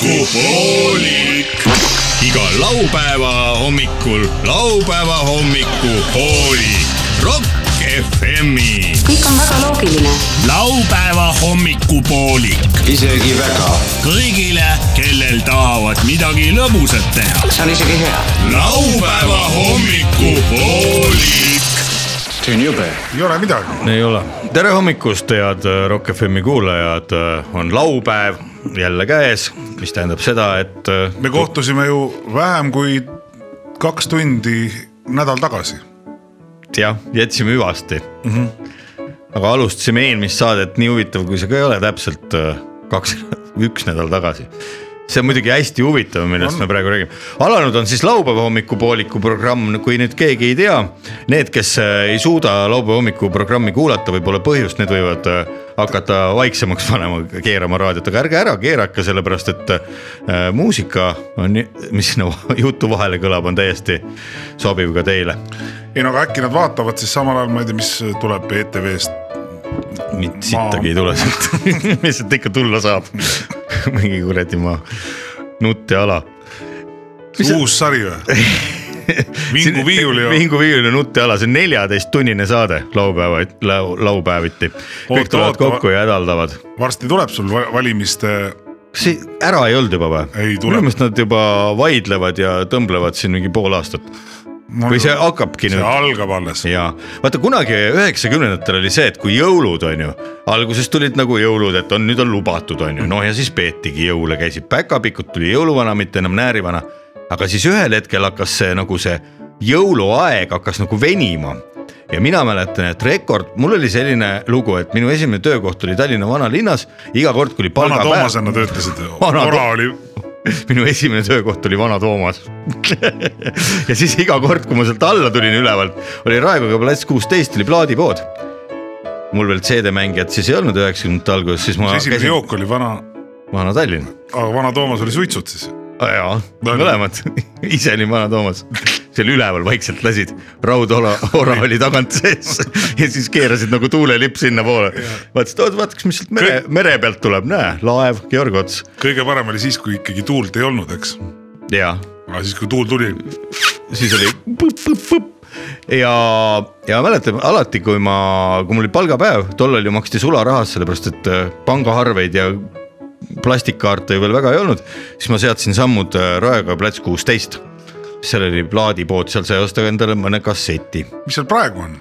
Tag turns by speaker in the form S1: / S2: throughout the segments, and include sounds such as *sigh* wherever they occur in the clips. S1: hommikupoolik . iga laupäeva hommikul laupäeva hommikupoolik . Rock FM-i .
S2: kõik on väga loogiline .
S1: laupäeva hommikupoolik
S3: isegi väga .
S1: kõigile , kellel tahavad midagi lõbusat teha .
S3: see on isegi hea .
S1: laupäeva hommikupoolik .
S3: see on jube .
S4: ei ole midagi .
S5: ei ole . tere hommikust , head äh, Rock FM-i kuulajad , on laupäev jälle käes , mis tähendab seda , et äh,
S4: me kohtusime ju vähem kui kaks tundi nädal tagasi .
S5: jah , jätsime hüvasti mm . -hmm. aga alustasime eelmist saadet , nii huvitav kui see ka ei ole , täpselt äh, kaks , üks nädal tagasi see on muidugi hästi huvitav , millest me praegu räägime . alanud on siis laupäeva hommikupooliku programm , kui nüüd keegi ei tea , need , kes äh, ei suuda laupäeva hommikuprogrammi kuulata , võib-olla põhjust , need võivad äh, hakata vaiksemaks panema , keerama raadiot , aga ärge ära keerake , sellepärast et äh, muusika on , mis sinna jutu vahele kõlab , on täiesti sobiv ka teile
S4: ei no aga äkki nad vaatavad siis samal ajal , ma ei tea , mis tuleb E ETV-st .
S5: mitte sittagi ei tule
S4: *laughs*
S5: sealt , *laughs* mis sealt ikka tulla saab . *laughs* mingi kuradi maa , nuteala .
S4: uus sari
S5: *laughs*
S4: või ? Vingu viiuli või ?
S5: Vingu viiuli nuteala , see on neljateisttunnine saade laupäeva , laupäeviti . kõik
S4: Oota,
S5: tulevad
S4: oota.
S5: kokku ja hädaldavad .
S4: varsti tuleb sul va- valimiste ,
S5: kas see ära ei olnud juba või ?
S4: Ei tule.
S5: minu meelest nad juba vaidlevad ja tõmblevad siin mingi pool aastat või see hakkabki
S4: see
S5: nüüd .
S4: algab alles .
S5: ja vaata kunagi üheksakümnendatel oli see , et kui jõulud on ju , alguses tulid nagu jõulud , et on , nüüd on lubatud , on ju , noh ja siis peetigi jõule , käisid päkapikud , tuli jõuluvana , mitte enam näärivana . aga siis ühel hetkel hakkas see nagu see jõuluaeg hakkas nagu venima ja mina mäletan , et rekord , mul oli selline lugu , et minu esimene töökoht oli Tallinna vanalinnas , iga kord , kui oli
S4: vana
S5: palgapäev ,
S4: Toomasena töötasid ,
S5: *laughs* Vana
S4: Ora
S5: To-
S4: oli ,
S5: *laughs* minu esimene töökoht oli Vana Toomas . *laughs* ja siis iga kord , kui ma sealt alla tulin ülevalt , oli Raekoja plats kuusteist oli plaadipood . mul veel CD-mängijat siis ei olnud üheksakümnendate alguses , siis ma
S4: esimene
S5: käisin
S4: jook oli Vana ,
S5: Vana Tallinn .
S4: aga Vana Toomas oli suitsud siis .
S5: jaa ,
S4: No nii.
S5: mõlemad , *laughs* ise olin Vana Toomas , seal üleval vaikselt lasid , raudora ora oli tagant sees *laughs* ja siis keerasid nagu tuulelipp sinnapoole . vaatasid , oot vaataks , mis sealt mere , mere pealt tuleb , näe , laev , Georg Ots
S4: kõige parem oli siis , kui ikkagi tuult ei olnud , eks .
S5: ja
S4: aga siis , kui tuul tuli ,
S5: siis oli põpp-põpp-põpp ja , ja mäletan alati , kui ma , kui mul oli palgapäev , tollal ju maksti sularahas , sellepärast et äh, pangaarveid ja plastikkaarte ju veel väga ei olnud , siis ma seadsin sammud äh, Raekoja plats kuusteist . seal oli plaadipood , seal sai osta endale mõne kasseti ,
S4: mis seal praegu on ?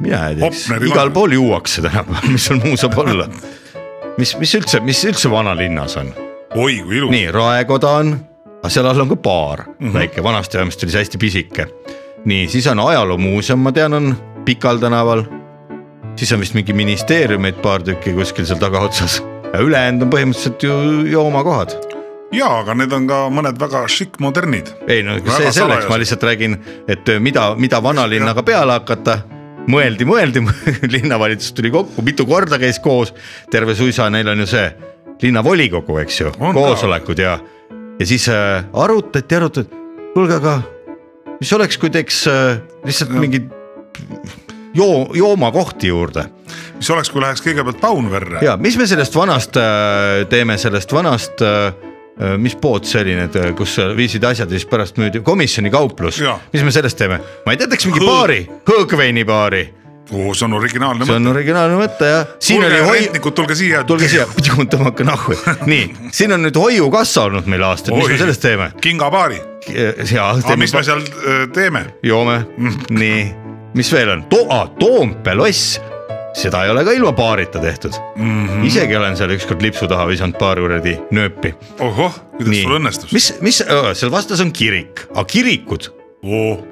S5: mina ei tea ,
S4: Hopneri
S5: igal
S4: vana-
S5: pool juuakse tänapäeval , *laughs* mis seal muu saab olla . mis , mis üldse , mis üldse vanalinnas on ?
S4: oi kui ilus .
S5: nii Raekoda on , aga seal all on ka baar mm , -hmm. väike , vanasti vähemasti oli see hästi pisike . nii , siis on ajaloomuuseum , ma tean , on Pikal tänaval . siis on vist mingi ministeeriumeid paar tükki kuskil seal tagaotsas , ülejäänud on põhimõtteliselt ju joomakohad .
S4: ja , aga need on ka mõned väga šikk modernid .
S5: ei no
S4: Väga
S5: see selleks ,
S4: salajas.
S5: ma lihtsalt räägin , et äh, mida , mida vanalinnaga peale hakata mõeldi , mõeldi , *laughs* linnavalitsus tuli kokku , mitu korda käis koos , terve suisa , neil on ju see linnavolikogu , eks ju ,
S4: On
S5: koosolekud ja , ja siis äh, arutati , arutati , kuulge , aga mis oleks , kui teeks äh, lihtsalt mingi joo- , joomakohti juurde
S4: mis oleks , kui läheks kõigepealt Paunverre ?
S5: ja mis me sellest vanast äh, teeme , sellest vanast , mis pood see oli nüüd , kus sa viisid asjad ja siis pärast müüdi , komisjoni kauplus
S4: Jaa. ,
S5: mis me sellest teeme , ma ei tea , teeks mingi
S4: Hõõg-
S5: baari , hõõgveinibaari ,
S4: oo , see on originaalne
S5: see
S4: mõte .
S5: on originaalne mõte ja siin
S4: kuulge
S5: oli , hoi- ,
S4: rentnikud , tulge siia .
S5: tulge siia , *laughs* tõmmake nahku , nii , siin on nüüd hoiukassa olnud meil aastaid , mis me sellest teeme ?
S4: kingapaari .
S5: ja
S4: aga
S5: teeme
S4: mis me , seal äh, teeme ?
S5: joome , nii , mis veel on to , Toompea loss seda ei ole ka ilma baarita tehtud mm ,
S4: Mhm.
S5: -hmm. isegi olen seal ükskord lipsu taha visanud paar kuradi nööpi
S4: ohoh , kuidas
S5: nii
S4: sul õnnestus ?
S5: mis , mis , seal vastas on kirik , aga kirikud ,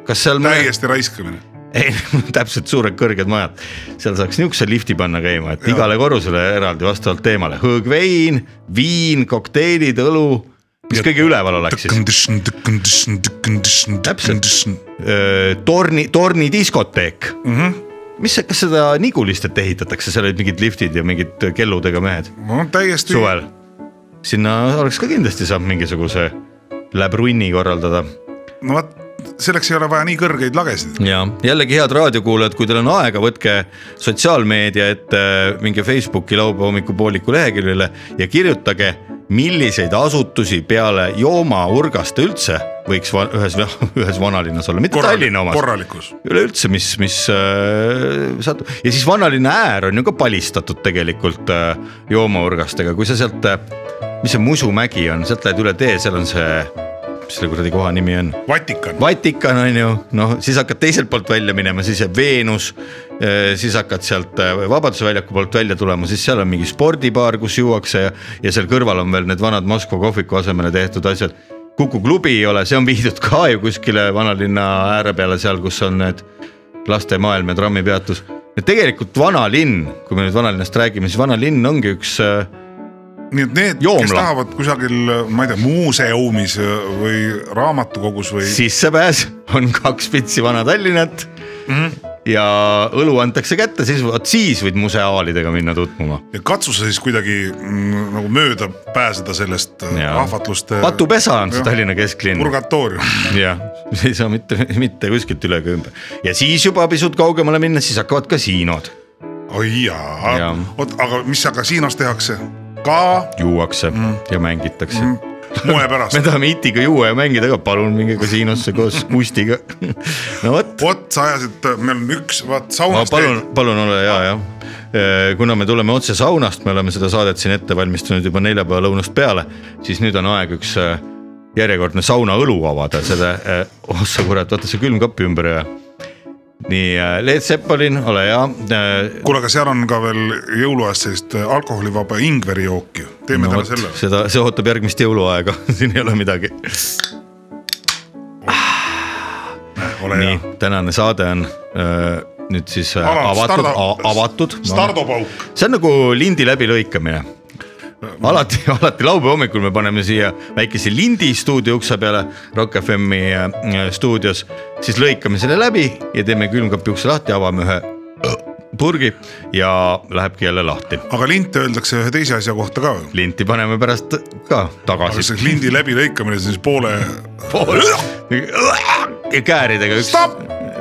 S5: kas seal mõne...
S4: täiesti raiskamine .
S5: *laughs* ei, täpselt suured kõrged majad , seal saaks niisuguse lifti panna käima , et ja. igale korrusele eraldi vastavalt teemale , hõõgvein , viin , kokteilid , õlu , mis
S4: Ja-
S5: kõige üleval oleks siis , Täpselt.
S4: täpselt .
S5: Äh, torni , tornidiskoteek mm . -hmm. mis , kas seda Nigulistelt ehitatakse , seal olid mingid liftid ja mingid äh, kelludega mehed
S4: no täiesti .
S5: suvel , sinna oleks ka kindlasti saab mingisuguse läbrunni korraldada
S4: no vot , selleks ei ole vaja nii kõrgeid lagesid .
S5: ja jällegi head raadiokuulajad , kui teil on aega , võtke sotsiaalmeedia ette , minge Facebooki laupäeva hommikupooliku leheküljele ja kirjutage , milliseid asutusi peale joomaurgaste üldse võiks va- ühes , *laughs* ühes vanalinnas olla , mitte Tallinna omas ,
S4: korralikus .
S5: üleüldse , mis , mis äh, saad ja siis vanalinna äär on ju ka palistatud tegelikult äh, joomaurgastega , kui sa sealt äh, , mis see Musumägi on , sealt lähed üle tee , seal on see , mis selle kuradi koha nimi on ?
S4: Vatikan .
S5: Vatikan on ju , noh , siis hakkad teiselt poolt välja minema , siis jääb Veenus . siis hakkad sealt äh, Vabaduse väljaku poolt välja tulema , siis seal on mingi spordibaar , kus juuakse ja , ja seal kõrval on veel need vanad Moskva kohviku asemele tehtud asjad . kuku klubi ei ole , see on viidud ka ju kuskile vanalinna ääre peale , seal , kus on need laste maailm ja trammipeatus . et tegelikult vanalinn , kui me nüüd vanalinnast räägime , siis vanalinn ongi üks äh,
S4: nii et need , kes
S5: Joomla.
S4: tahavad kusagil , ma ei tea , muuseumis äh, või raamatukogus või
S5: sissepääs on kaks pitsi Vana-Tallinnat mm . -hmm. ja õlu antakse kätte , siis vot siis võid museaalidega minna tutvuma .
S4: ja katsu sa siis kuidagi mm, nagu mööda pääseda sellest ja. ahvatluste .
S5: patupesa on see Tallinna kesklinn .
S4: purgatoorium .
S5: jah , *laughs* ei saa mitte , mitte kuskilt üle ega ümber ja siis juba pisut kaugemale minnes , siis hakkavad kasiinod ,
S4: oi jaa
S5: Jaa. ,
S4: oot , aga mis seal kasiinos tehakse ? ka
S5: juuakse mm. ja mängitakse mm.
S4: moe
S5: *laughs* me
S4: pärast ,
S5: tahame Itiga juua ja mängida , aga palun minge kasiinosse koos Kustiga . *laughs* no vot .
S4: vot sa ajasid , meil on üks , vaat
S5: ma
S4: saunas
S5: palun , palun ole hea , jah . kuna me tuleme otse saunast , me oleme seda saadet siin ette valmistanud juba neljapäeva lõunast peale , siis nüüd on aeg üks äh, järjekordne saunaõlu avada , selle , oh sa kurat , vaata see külmkapi ümber ja . nii , Leet Sepolin , ole hea . Äh,
S4: kuule , aga seal on ka veel jõuluajast sellist äh, alkoholivaba ingverijooki , teeme no, täna selle .
S5: seda , see ootab järgmist jõuluaega , *laughs* siin ei ole midagi .
S4: ole
S5: nii
S4: hea ,,
S5: tänane saade on äh, nüüd siis äh,
S4: Alar,
S5: avatud
S4: starda- ,
S5: avatud .
S4: stardopauk ,
S5: see on nagu lindi läbilõikamine . alati , *laughs* alati laupäeva hommikul me paneme siia väikese lindi stuudio ukse peale Rock FM-i äh, stuudios , siis lõikame selle läbi ja teeme külmkapi ukse lahti , avame ühe äh, purgi ja lähebki jälle lahti .
S4: aga linte öeldakse ühe teise asja kohta ka ju .
S5: linti paneme pärast ka
S4: aga see
S5: tagasi .
S4: lindi läbilõikamine siis poole ,
S5: ja Äh, kääridega üks .
S4: Stopp!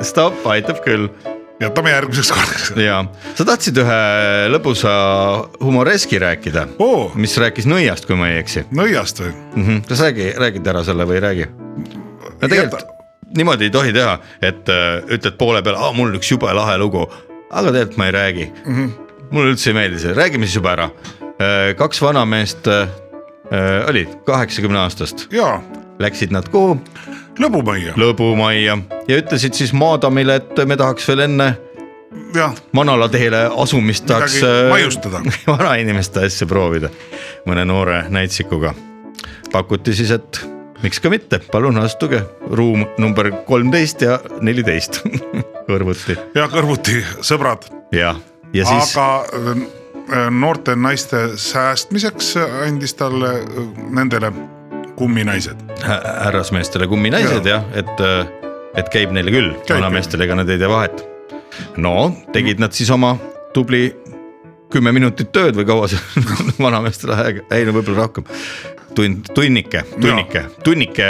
S5: stopp , aitab küll
S4: jätame järgmiseks korraks .
S5: ja sa tahtsid ühe lõbusa humoreski rääkida
S4: Oo.
S5: mis rääkis nõiast , kui ma ei eksi .
S4: nõiast või ?
S5: mm . -hmm. kas räägi , räägid ära selle või ei räägi ? no tegelikult niimoodi ei tohi teha , et äh, ütled poole peale , mul on üks jube lahe lugu , aga tegelikult ma ei räägi mm . -hmm. mulle üldse ei meeldi see , räägime siis juba ära . kaks vanameest äh, äh, olid kaheksakümne aastast ,
S4: jaa ,
S5: läksid nad kuhu ?
S4: lõbumajja ,
S5: lõbumajja ja ütlesid siis maadamile , et me tahaks veel enne
S4: jah ,
S5: manalateele asumist tahaks
S4: Midagi
S5: äh, *laughs*
S4: maiustada.
S5: vanainimeste asja proovida mõne noore näitsikuga . pakuti siis , et miks ka mitte , palun astuge , ruum number kolmteist ja neliteist *laughs* kõrvuti
S4: ja kõrvuti sõbrad ,
S5: ja , ja siis Aga...
S4: aga äh, noorte naiste säästmiseks andis talle äh, nendele kumminaised .
S5: härrasmeestele kumminaised jah ja, , et , et käib neile küll ,
S4: Käib
S5: vanameestele ega nad ei tee vahet . no tegid nad siis oma tubli kümme minutit tööd või kaua see *laughs* vanameestele aega , ei no võib-olla rohkem . tund , tunnike , tunnike , tunnike ,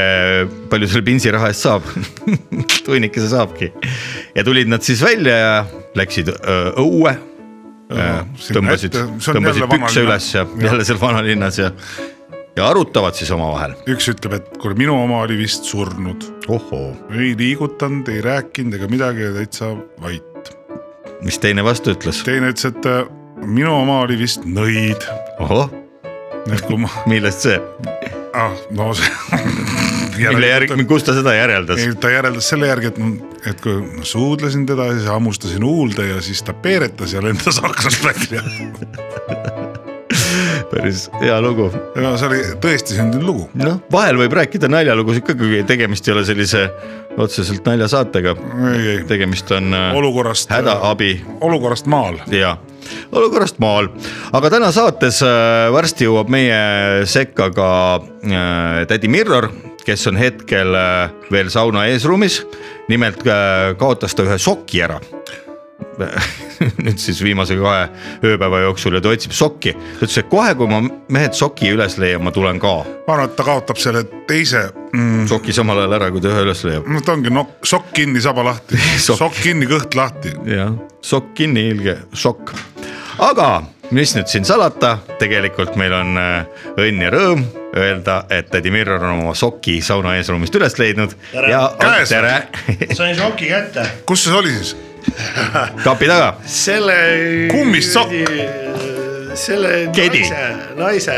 S5: palju selle pintsi raha eest saab ? *laughs* tunnike see saabki . ja tulid nad siis välja ja läksid öö, õue .
S4: sinna
S5: tõmbasid ,
S4: ette, see on
S5: tõmbasid
S4: jälle
S5: pükse
S4: vanalinna.
S5: üles ja jälle seal vanalinnas ja , ja arutavad siis omavahel .
S4: üks ütleb , et kuule , minu oma oli vist surnud ,
S5: ohoo ,
S4: ei liigutanud , ei rääkinud ega midagi , täitsa vait .
S5: mis teine vastu ütles ?
S4: teine ütles , et äh, minu oma oli vist nõid ,
S5: ohoh ,
S4: et kui ma , *laughs*
S5: millest see ,
S4: ah no see
S5: mille järgi , kust ta seda järeldas ?
S4: ei , ta järeldas selle järgi , et , et kui ma suudlesin teda ja siis hammustasin huulde ja siis ta peeretas ja lendas aknast välja .
S5: päris hea lugu .
S4: ja see oli tõesti sündinud lugu .
S5: noh , vahel võib rääkida naljalugusid ka , kui tegemist ei ole sellise otseselt naljasaatega .
S4: ei , ei ,
S5: tegemist on äh,
S4: olukorrast , äh,
S5: hädaabi
S4: olukorrast maal .
S5: ja olukorrast maal , aga täna saates äh, varsti jõuab meie sekka ka äh, tädi Mirror , kes on hetkel äh, veel sauna eesruumis . nimelt äh, kaotas ta ühe soki ära *laughs* nüüd siis viimase kahe ööpäeva jooksul ja ta otsib sokki , ta ütles , et kohe , kui ma mehed soki üles leian , ma tulen ka .
S4: ma arvan , et ta kaotab selle teise mm, ,
S5: soki samal ajal ära , kui ta ühe üles leiab .
S4: no ta ongi nokk , sokk kinni , saba lahti ,
S5: Sokk.
S4: sokk kinni , kõht lahti .
S5: jah , sokk kinni , ilge sokk . aga mis nüüd siin salata , tegelikult meil on äh, õnn ja rõõm öelda , et tädi Mirror on oma soki sauna eesruumist üles leidnud
S2: Tere.
S5: ja
S4: Käes.
S5: tere *laughs*
S2: sain šoki kätte .
S4: kus see oli siis ?
S5: kapi taga .
S2: selle .
S4: Kummist sokk? ?
S2: selle
S5: Kedi.
S2: naise , naise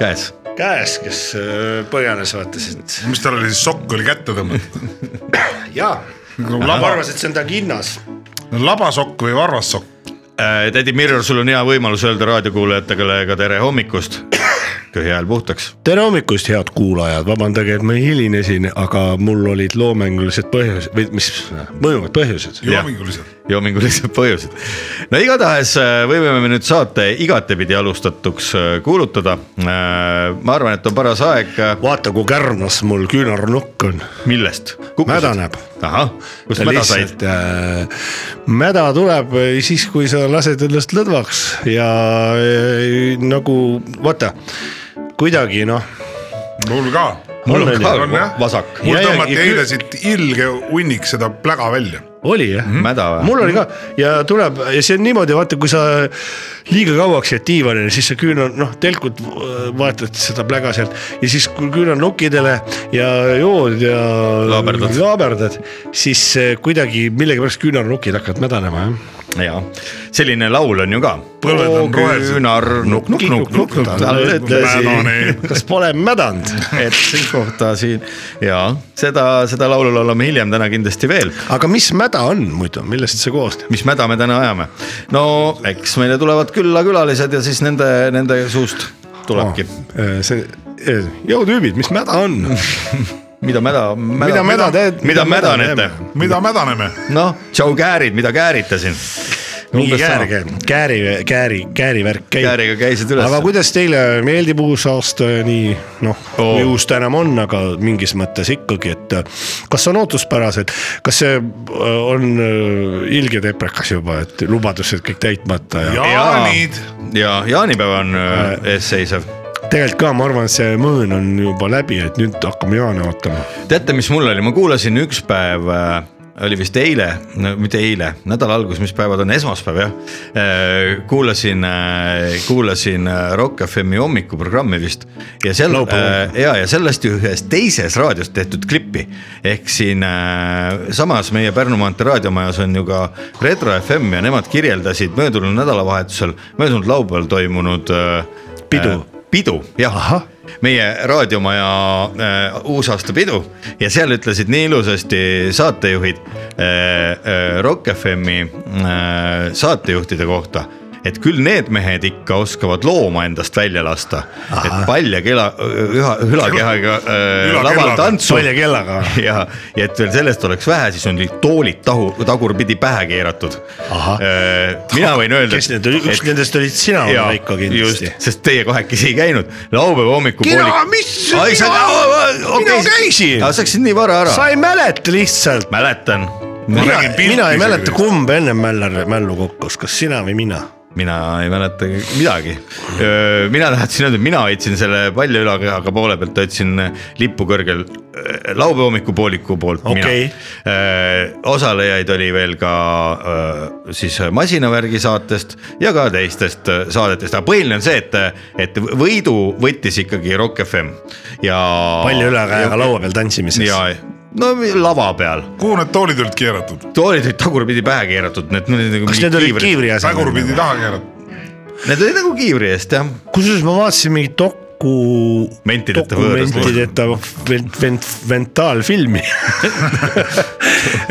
S5: käes ,
S2: käes , kes äh, põgenes , vaata siis .
S4: mis tal oli siis , sokk oli kätte tõmmatud ?
S2: jaa , ma
S4: laba ,
S2: arvasin , et see on Tallinnas .
S4: labasokk või varvassokk ?
S5: tädi Äh, Mirror , sul on hea võimalus öelda raadiokuulajatele ka tere hommikust , *coughs* köhi hääl puhtaks .
S6: tere hommikust , head kuulajad , vabandage , et ma hilinesin , aga mul olid loomingulised põhjused või mis , mõjuvad põhjused .
S4: joominguliselt .
S5: joomingulised põhjused . no igatahes äh, võime me nüüd saate igatepidi alustatuks äh, kuulutada . ma arvan , et on paras aeg ,
S6: vaata , kui kärnas mul küünarnukk on ,
S5: millest ?
S6: mädaneb .
S5: ahah , kust mäda said ?
S6: äh, mäda tuleb äh, siis , kui sa lased ennast lõdvaks ja äh, nagu vaata , kuidagi noh .
S4: mul ka .
S5: mul on
S6: on
S5: ka
S4: on, jah.
S5: vasak ,
S4: mul
S6: Ja, ja,
S4: tõmmati
S6: ja kü-
S4: eile siit ilge hunnik seda pläga välja .
S6: oli jah ?
S5: Mhm. mäda või ?
S6: mul oli ka ja tuleb ja see on niimoodi , vaata , kui sa liiga kauaks jääd diivanile , siis sa küünal , noh , telkud äh, vaatad seda pläga sealt ja siis kui küünal nokkidele ja jood ja
S5: Laaberdad.
S6: laaberdad , siis äh, kuidagi millegipärast küünarnukid hakkavad mädanema , jah .
S5: jaa , selline laul on ju ka .
S4: Põlved on rohelised.
S5: küünar nukk , nukk , nukk , nukk , nukk , talle ütlesin .
S6: kas pole mädanud ?
S5: et siin kohta siin ja seda , seda laulu laulame hiljem täna kindlasti veel
S6: aga mis mäda on muidu , millest see koosneb ?
S5: mis mäda me täna ajame ? no eks meile tulevad külla külalised ja siis nende , nende suust tulebki oh. ,
S6: äh, see , jõutüübid , mis mäda
S5: *laughs*
S6: on ?
S5: mida mäda, mäda ,
S6: mida mäda teed ?
S5: mida mädanete ,?
S4: mida mädaneme ?
S5: noh , tšau käärid , mida käärite siin ?
S6: mingi käärge , kääri , kääri , käärivärk käib .
S5: Kääriga käisid üles.
S6: aga kuidas teile meeldib uus aasta ja nii noh
S5: Oo.
S6: oh. , nii uus ta enam on , aga mingis mõttes ikkagi , et äh, kas on ootuspärased , kas see äh, on äh, ilge teprekas juba , et lubadused kõik täitmata ja,
S4: jaanid .
S5: ja jaanipäev on äh, eesseisev .
S6: ja. tegelikult ka ma arvan , et see mõõn on juba läbi , et nüüd hakkame jaane ootama .
S5: teate , mis mul oli , ma kuulasin üks päev äh, oli vist eile no, , mitte eile , nädala algus , mis päevad on , esmaspäev jah . kuulasin , kuulasin äh, Rock FM-i hommikuprogrammi vist ja seal äh,
S6: Laupäeval. ,
S5: ja , ja sellest ühes teises raadios tehtud klippi . ehk siin äh, samas meie Pärnu maantee raadiomajas on ju ka Retro FM ja nemad kirjeldasid möödunud nädalavahetusel , möödunud laupäeval toimunud äh,
S6: Pidu.
S5: äh, pidu , jah
S6: Ahah. ,
S5: meie raadiomaja äh, uusaastapidu ja seal ütlesid nii ilusasti saatejuhid äh, äh, Rock FM-i äh, saatejuhtide kohta et küll need mehed ikka oskavad looma endast välja lasta , et palja kela , üha ,
S6: *laughs*
S5: ülakehaga äh,
S4: Ülakellaga.
S5: laval tantsu *laughs*
S6: palja *laughs* kellaga .
S5: ja , ja et veel sellest oleks vähe , siis on neil toolid tahu , tagurpidi pähe keeratud .
S6: Ahah.
S5: mina võin öelda .
S6: kes need olid , üks nendest olid sina , Veiko kindlasti .
S5: sest teie kahekesi ei käinud , laupäeva hommikupoolik .
S6: Kena, mis-
S5: Ai, sa-
S6: mina-
S5: aa, okei,
S6: mina
S5: sa-
S6: käisin.
S5: aga sa läksid nii vara ära .
S6: sa ei mäleta lihtsalt .
S5: mäletan ,
S4: Ma
S6: mina
S4: nägin pilti ,
S6: mina ei
S4: isegi
S6: mäleta ,
S4: vist.
S6: kumb ennem mällar , mällu kukkus , kas sina või mina ?
S5: mina ei mäleta midagi . mina tahtsin öelda , et mina hoidsin selle palja ülakehaga poole pealt , hoidsin lippu kõrgel öö, laupäeva hommikupooliku poolt
S6: Okei.
S5: mina . osalejaid oli veel ka öö, siis masinavärgi saatest ja ka teistest öö, saadetest , aga põhiline on see , et , et võidu võttis ikkagi Rock FM ja .
S6: palju ülekäega laua peal tantsimises .
S5: ja , no lava peal ,
S4: kuhu need toolid olid keeratud ?
S5: toolid olid tagurpidi pähe keeratud , need .
S6: kas need olid kiivri
S4: tagurpidi
S6: asemel ?
S4: taha keeratud .
S5: Need olid nagu kiivri eest jah
S6: kusjuures ma vaatasin mingit doku .
S5: Mentideta võõrast.
S6: dokumentideta vent- , vent- , ventaalfilmi *laughs*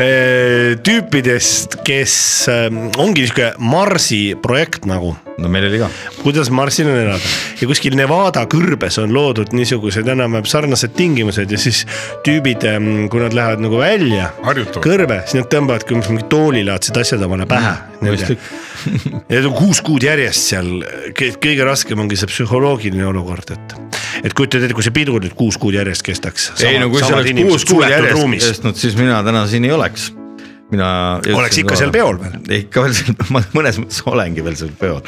S6: tüüpidest , kes ähm, ongi sihuke Marsi projekt nagu
S5: no meil oli ka
S6: kuidas Marsil on elada ja kuskil Nevada kõrbes on loodud niisugused enam-vähem sarnased tingimused ja siis tüübid , kui nad lähevad nagu välja
S4: Harjutavad.
S6: kõrbe , siis nad tõmbavad küll mingi toolilaadsed asjad omale pähe mm, . ja ta on kuus kuud järjest seal , kõige raskem ongi see psühholoogiline olukord , et , et kujutad ette , kui see pidu nüüd kuus kuud järjest kestaks .
S5: ei no kui see oleks kuus kuud järjest kestnud , siis mina täna siin ei oleks . mina .
S6: Oleks ikka seal peol veel. .
S5: ikka veel seal , *laughs* ma mõnes mõttes olengi veel seal peol ,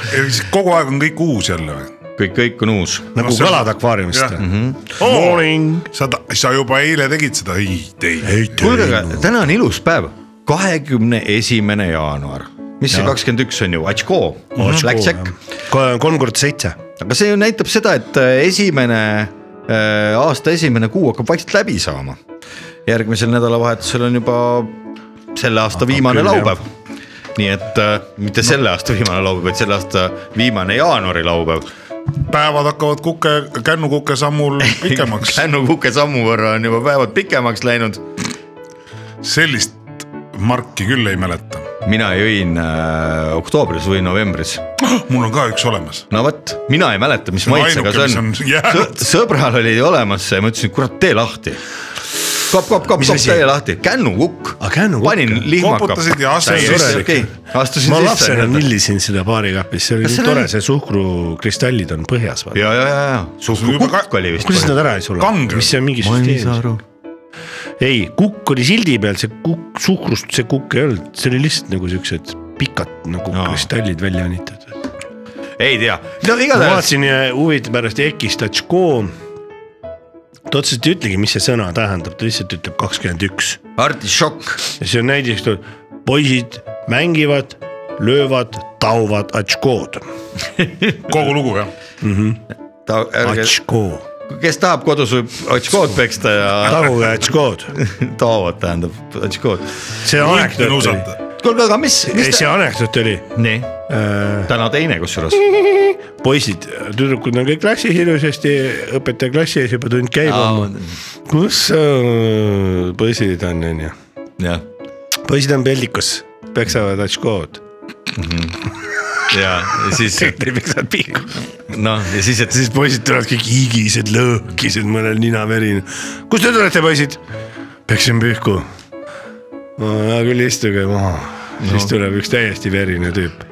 S4: kogu aeg on kõik uus jälle või ?
S5: kõik , kõik on uus .
S6: nagu
S4: No see-
S6: kalad akvaariumist
S4: Jah.
S6: mm .
S5: Mhm.
S6: -hmm.
S4: sa , sa juba eile tegid seda ? ei , ei .
S5: kuulge , aga täna on ilus päev , kahekümne esimene jaanuar mis see kakskümmend üks on ju , Atško , Black Jack ,
S6: kolm korda seitse .
S5: aga see ju näitab seda , et esimene äh, aasta esimene kuu hakkab vaikselt läbi saama . järgmisel nädalavahetusel on juba selle aasta viimane laupäev . nii et äh, mitte selle aasta viimane laupäev , vaid selle aasta viimane jaanuari laupäev .
S4: päevad hakkavad kuke , kännukuke sammul pikemaks .
S5: kännukuke sammu võrra on juba päevad pikemaks läinud .
S4: sellist marki küll ei mäleta .
S5: mina jõin äh, oktoobris või novembris
S4: mul on ka üks olemas .
S5: no vot , mina ei mäleta , mis
S4: on
S5: maitsega
S4: ainuke,
S5: see on,
S4: mis on jäänud.
S5: Sõ- sõbral oli olemas see , ma ütlesin , kurat tee lahti . kop , kop , kop , kop , tee lahti , kännukukk .
S6: Aa, kännukukk.
S5: panin lihmaka .
S4: Koputasid ja astusid
S6: sisse.
S5: okei , astusin
S6: ma
S5: sisse .
S6: lapsena nillisin seda baarikapis , see oli
S5: Kas
S6: nii
S5: seal
S6: tore
S5: oli- ,
S6: see suhkurukristallid on põhjas .
S5: ja , ja , ja , ja suhkrukukk oli vist .
S6: kuidas nad ära ei sula
S4: Kangel. ?
S6: mis see on mingi süsteem ? ei , kukk oli sildi peal , see kukk , suhkrust see kukk ei olnud , see oli lihtsalt nagu siuksed pikad nagu
S5: Aa.
S6: kristallid välja õnnitud
S5: ei tea , no
S6: ma
S5: igatahes ,
S6: vaatasin äh, huvide pärast Eki Statško . ta otseselt ei ütlegi , mis see sõna tähendab , ta lihtsalt ütleb kakskümmend üks
S5: artišokk ,
S6: ja see on näiteks , poisid mängivad , löövad , tauvad Atškod .
S4: kogu lugu jah .
S5: ta , ärge ,
S6: Atško ,
S5: kes tahab kodus võib otškood peksta ja *laughs*
S6: taluge Atškod ,
S5: taovad , tähendab otškood .
S6: see anekdoot oli ,
S5: kuulge , aga mis ,
S6: ei Äh.
S5: mis
S6: see
S5: ta ,
S6: anekdoot oli ,
S5: nii , täna teine kusjuures ,
S6: poisid , tüdrukud on kõik klassis ilusasti , õpetaja klassi ees juba tund käib
S5: Aa,
S6: homme
S5: on. .
S6: kus äh, poisid on , onju ,
S5: jah ,
S6: poisid on peldikus , peksavad Atškod
S5: ja siis
S6: ei peksa pihku .
S5: noh , ja siis , et
S6: siis poisid tulevad kõik higised , lõhkised , mõnel ninaverine . kust te tulete , poisid ? peksin pihku . hea küll , istuge maha no. . siis tuleb üks täiesti verine tüüp .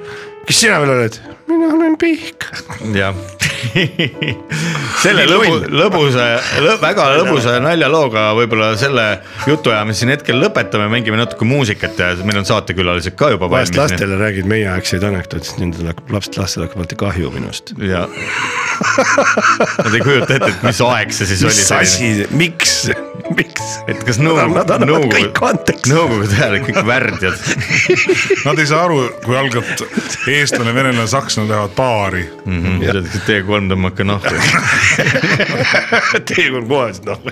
S6: kes sina veel oled ? mina olen Pihk . *laughs*
S5: jah . selle lõbu , lõbusa lõ, , väga lõbusa naljalooga võib-olla selle jutuajamise siin hetkel lõpetame , mängime natuke muusikat ja meil on saatekülalised ka juba
S6: vahest
S5: valmis .
S6: lastele räägid meieaegseid anekdoote , siis nendel hakkab , lapsed , lastel hakkab alati kahju minust .
S5: ja Nad ei kujuta ette , et mis aeg see siis
S6: mis
S5: oli .
S6: asi , miks , miks ?
S5: et kas
S6: Nad
S5: nõukogude ,
S6: annavad kõik
S5: nõukogude ,
S6: andeks .
S5: nõukogude ajal olid kõik värdjad .
S6: *laughs*
S4: Nad ei saa aru , kui algab eestlane , venelane , sakslane lähevad baari .
S5: Mm, Teie kolm tõmmake nahku .
S2: *laughs*
S6: Teie on kohe siis noh .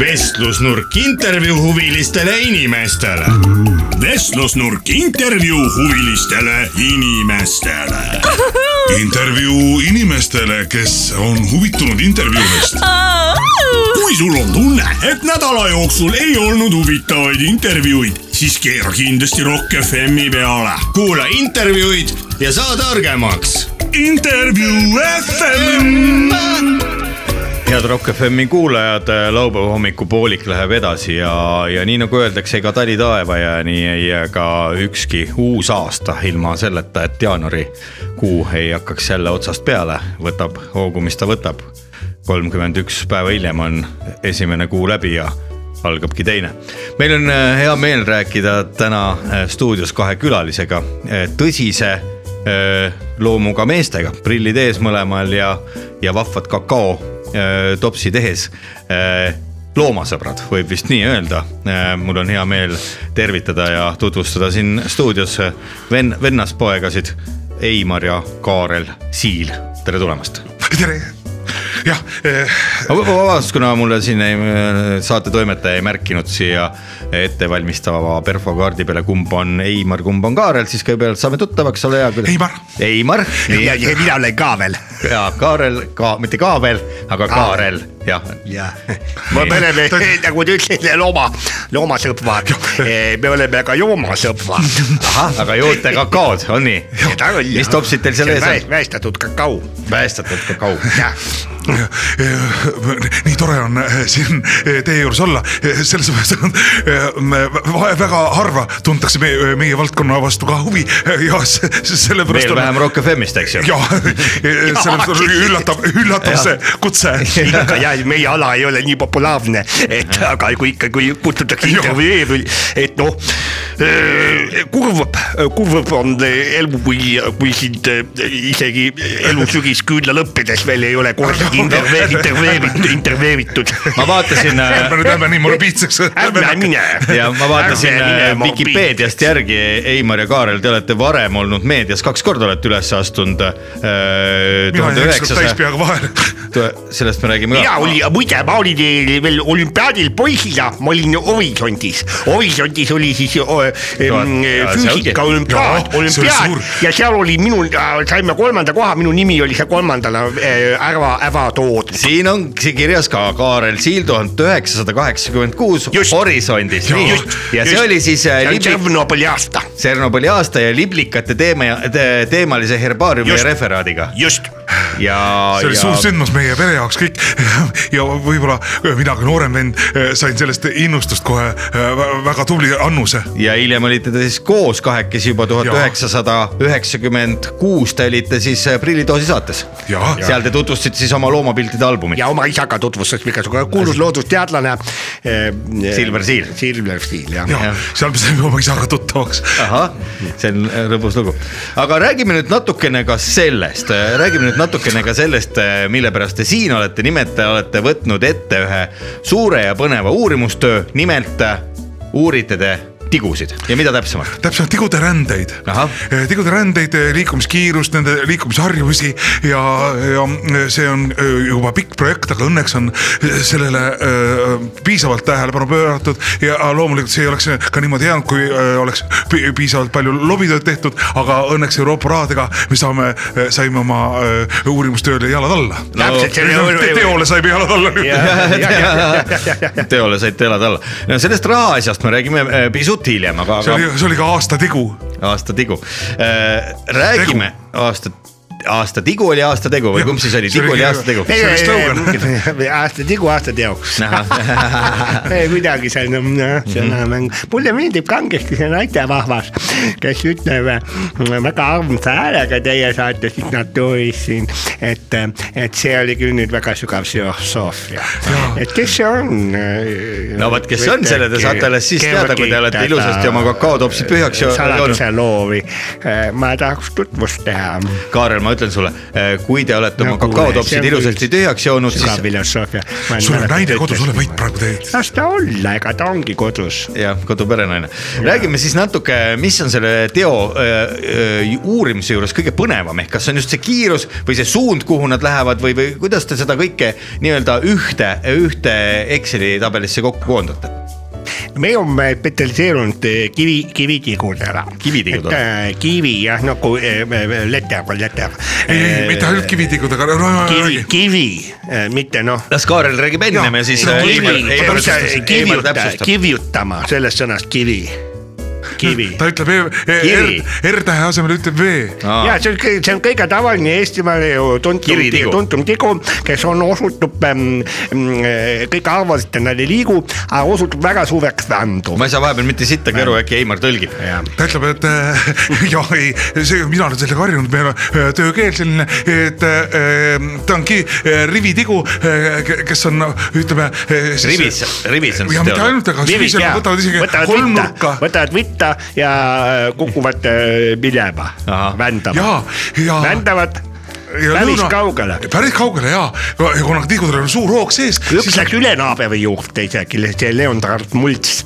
S1: vestlusnurk intervjuu huvilistele inimestele . vestlusnurk intervjuu huvilistele inimestele .
S4: intervjuu inimestele , kes on huvitunud intervjuudest .
S1: kui sul on tunne , et nädala jooksul ei olnud huvitavaid intervjuuid , siis keera kindlasti Rock FM-i peale . kuula intervjuud ja saa targemaks . intervjuu FM .
S5: head Rock FM-i kuulajad , laupäeva hommikupoolik läheb edasi ja , ja nii nagu öeldakse , ega tali taeva ja nii ei jää ka ükski uus aasta ilma selleta , et jaanuarikuu ei hakkaks jälle otsast peale , võtab hoogu , mis ta võtab . kolmkümmend üks päeva hiljem on esimene kuu läbi ja algabki teine . meil on äh, hea meel rääkida täna äh, stuudios kahe külalisega , tõsise äh, loomuga meestega , prillid ees mõlemal ja , ja vahvad kakao äh, topsi tehes . loomasõbrad , võib vist nii öelda . mul on hea meel tervitada ja tutvustada siin stuudios äh, venn , vennaspoegasid Eimar ja Kaarel Siil , tere tulemast
S4: tere , jah eh, ,
S5: Ma vab- vabandust , kuna mulle siin ei, saate toimetaja ei märkinud siia ettevalmistava perfokaardi peale , kumb on Eimar , kumb on Kaarel , siis kõigepealt saame tuttavaks , ole hea .
S4: Eimar.
S5: Eimar , nii
S2: ja , ja mina olen ka veel .
S5: ja Kaarel ka , mitte Kaavel , aga Kaarel , jah .
S2: jah , me
S5: Nii.
S2: oleme nagu te ütlesite , looma , loomasõbrad , me oleme ka joomasõbrad .
S5: aga joote kakaod , on nii ? mis topsid teil seal ees on ?
S2: väestatud kakao .
S5: päästetud kakao .
S2: jah ,
S4: *laughs* nii tore on eh, siin eh, teie juures olla , selles mõttes , et eh, me- va- väga harva tuntakse meie , meie valdkonna vastu ka huvi eh, ja se- sellepärast
S5: veel
S4: on *laughs* eh,
S5: vähem Rock FM-ist , eks ju . *laughs*
S4: ja sellepärast on üllatav , üllatav see kutse .
S2: ja , jah , meie ala ei ole nii populaarne , et aga kui ikka , kui kutsutakse intervjueeri , et noh , kurvab , kurvab on elu , kui , kui sind isegi elu sügis küünla lõppedes veel ei ole kordagi intervjue- intervjueeritud , intervjueeritud .
S5: ma vaatasin ,
S4: ärme nüüd lähme nii morbiidseks .
S2: ärme mine .
S5: ja ma vaatasin äh, Vikipeediast järgi , Eimar ja Kaarel , te olete varem olnud meedias , kaks korda olete üles astunud . äh,
S4: mina
S5: tuhande
S4: olin ükskord täis
S5: üheksasaja ,
S4: peaga vahel .
S5: sellest me räägime
S2: mina
S5: ka .
S2: olin , muide , ma olin eh, veel olümpiaadil poisina , ma olin Horisondis , Horisondis oli siis o, em,
S5: ja see ongi-
S2: füüsika
S4: Jaa,
S2: olümpiaad ,
S4: see oli
S2: olümpiaad
S4: suur.
S2: ja seal oli minul , saime kolmanda koha , minu nimi oli seal kolmandana eh, ära , ära toodud .
S5: siin on see kirjas ka Kaarel Siil tuhat üheksasada kaheksakümmend kuus
S2: Just.
S5: Horisondis
S2: Jaa. .
S5: ja see
S2: Just.
S5: oli siis äh, liblik- ,
S2: Tšernobõli aasta ,
S5: Tšernobõli aasta ja liblikate teema , teemalise herbaariumi
S2: Just.
S5: referaadiga
S2: just ,
S5: ja ,
S4: see oli suur
S5: ja
S4: sündmus meie pere jaoks kõik *laughs* ja võib-olla mina kui noorem vend eh, sain sellest innustust kohe eh, vä- väga tubli annuse .
S5: ja hiljem olite te siis koos kahekesi juba tuhat
S4: Jaa.
S5: üheksasada üheksakümmend kuus , te olite siis äh, Prillitoosi saates .
S4: Jaa.
S5: seal te tutvustasite siis oma loomapiltide albumit .
S2: ja oma isaga tutvustas mingisugune kuulus loodusteadlane .
S5: Silver Siil.
S2: Silver Siil jah .
S4: ja
S5: Jah.
S4: seal me saime oma isaga tuttavaks .
S5: ahah , see on lõbus lugu , aga räägime nüüd natukene ka sellest , räägime nüüd natukene ka sellest , mille pärast te siin olete , nimelt te olete võtnud ette ühe suure ja põneva uurimustöö , nimelt uurite te tigusid ja mida täpsemalt ?
S4: täpsemalt tigude rändeid Eh,
S5: Ahah. ,
S4: tigude rändeid , liikumiskiirust , nende liikumisharjumusi ja , ja eh, see on öö, juba pikk projekt , aga õnneks on eh, sellele öö, piisavalt tähelepanu pööratud ja loomulikult see ei oleks ka niimoodi jäänud , kui öö, oleks pi- piisavalt palju lobitööd tehtud , aga õnneks Euroopa rahadega me saame , saime oma öö, uurimustööle jalad alla .
S2: Täpselt, see oli- *laughs*
S4: teole saime jalad alla nüüd
S5: *laughs* teole saite elada alla , no sellest rahaasjast me räägime eh, pisut hiljem , aga ,
S4: see oli
S5: aga ,
S4: see oli ka aasta tigu ,
S5: aasta tigu . räägime aasta , aasta tigu oli aasta tegu või
S4: Jah,
S5: kumb siis oli ,
S4: see oli
S5: tigu oli
S4: ka-
S5: aasta tegu ?
S4: See oli
S2: ei , aasta tigu , aasta teoks . *laughs* Ei, kuidagi see on , noh,
S5: Mhm.
S2: see on hea mäng , mulle meeldib kangesti see naisterahvas , kes ütleb äh, väga armsa häälega teie saates Ignatoris siin , et , et see oli küll nüüd väga sügav filosoofia . et kes see on ?
S5: no vot , kes see on , selle te saate alles siis teada , kui te olete ilusasti oma kakaotopsi tühjaks jo- joonud .
S2: saladuse loovi , ma tahaks tutvust teha .
S5: Kaarel , ma ütlen sulle , kui te olete oma
S2: No kuule, Nagu see
S5: kakaotopsid
S2: on
S5: ilusasti
S2: küll
S5: tühjaks joonud ,
S2: sügav
S5: siis
S2: filosoofia .
S4: sul on naine kodus , ole vait praegu tegelikult .
S2: las ta olla , ega ta ongi kodus .
S5: jah , koduperenaine . räägime siis natuke , mis on selle teo öö, öö, uurimise juures kõige põnevam , ehk kas see on just see kiirus või see suund , kuhu nad lähevad või , või kuidas te seda kõike nii-öelda ühte , ühte Exceli tabelisse kokku koondate ?
S2: me oleme spetsialiseerunud eh, kivi , kivitigudele .
S5: Kivitigudele.
S2: et äh, kivi jah , nagu eh, eh, leter on leter .
S4: ei , ei , mitte ainult kivitigudega , no , no ,
S2: kivi
S4: no ,
S2: kivi , mitte noh .
S5: las Kaarel räägib ennem ja siis . eh, äh,
S2: kiviutama , sellest sõnast kivi , kivi .
S4: ta ütleb E-
S5: Kivi.
S4: E- R , R-tähe asemel ütleb V .
S2: ja see on , see on kõige tavaline Eestimaal ju tuntum
S5: Kivitigu. ,
S2: tuntum tigu , kes on , osutub ähm, , kõik arvasid , et nad ei liigu , aga osutub väga suureks vandu .
S5: ma ei saa vahepeal mitte sittagi aru , äkki Heimar tõlgib .
S4: ta ütleb , et äh, *laughs* jah , ei , see , mina olen sellega harjunud , meil on äh, töökeel selline , et äh, ta ongi äh, rivitigu , kes on , ütleme . äh,
S5: rivis , rivis
S4: ja
S5: on siis
S4: mitte
S5: teada .
S4: ainult , aga siis võtavad isegi kolmnurka
S2: võtavad vitta ja äh, kukuvad äh, minema ,
S5: Ahah.
S2: vändama ,
S4: ja , ja .
S2: vändavad
S4: Ja
S2: päris
S4: lõuna-
S2: kaugele .
S4: päris kaugele ja , kuna tiigudel on suur hoog sees ,
S2: üks
S4: siis
S2: läks üle naabri juurde isegi , see Leonard Mults ,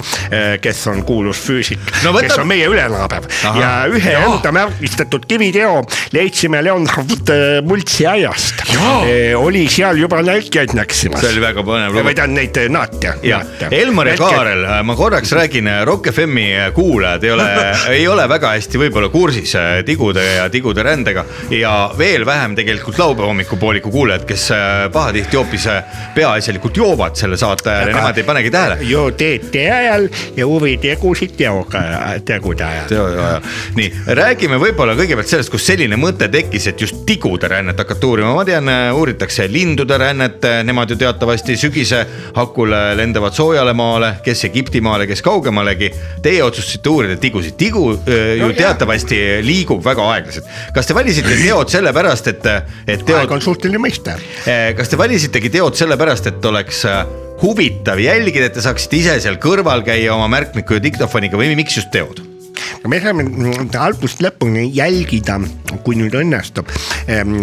S2: kes on kuulus füüsik
S5: No
S2: no, ,
S5: võta-
S2: kes on meie ülenaaber
S5: Ahah.
S2: ja ühe ja. enda märgistatud kiviteo leidsime Leonard äh, Multsi aiast
S4: Jaa. .
S2: oli seal juba näitlejaid näksimas
S5: see oli väga põnev lugu
S2: või . ta on neid äh, naate .
S5: ja , Elmar ja . Kaarel , ma korraks räägin , Rock FM-i kuulajad ei ole , ei ole väga hästi võib-olla kursis äh, tigude ja tigude rändega ja veel vähem tegelikult laupäeva hommikupooliku kuulajad , kes äh, pahatihti hoopis äh, peaasjalikult joovad selle saate ajal ja nemad ei panegi tähele .
S2: ju teete ajal ja huvitegusid teoga , tegude ajal .
S5: nii , räägime võib-olla kõigepealt sellest , kus selline mõte tekkis , et just tigude rännet hakata uurima , ma tean , uuritakse lindude rännet , nemad ju teatavasti sügise hakul lendavad soojale maale , kes Egiptimaale , kes kaugemalegi . Teie otsustasite uurida äh,
S2: *clears throat*
S5: tigusid , tigu öö, ju teatavasti liigub väga aeglaselt . kas te valisite teod sellepärast , et valisite , et
S2: aeg
S5: teod Äh,
S2: on , suhteline mõiste .
S5: kas te valisitegi teod sellepärast , et oleks äh, huvitav jälgida , et te saaksite ise seal kõrval käia oma märkmiku ja diktofoniga või miks just teod ?
S2: me saame mm, algusest lõpuni jälgida , kui nüüd õnnestub ehm,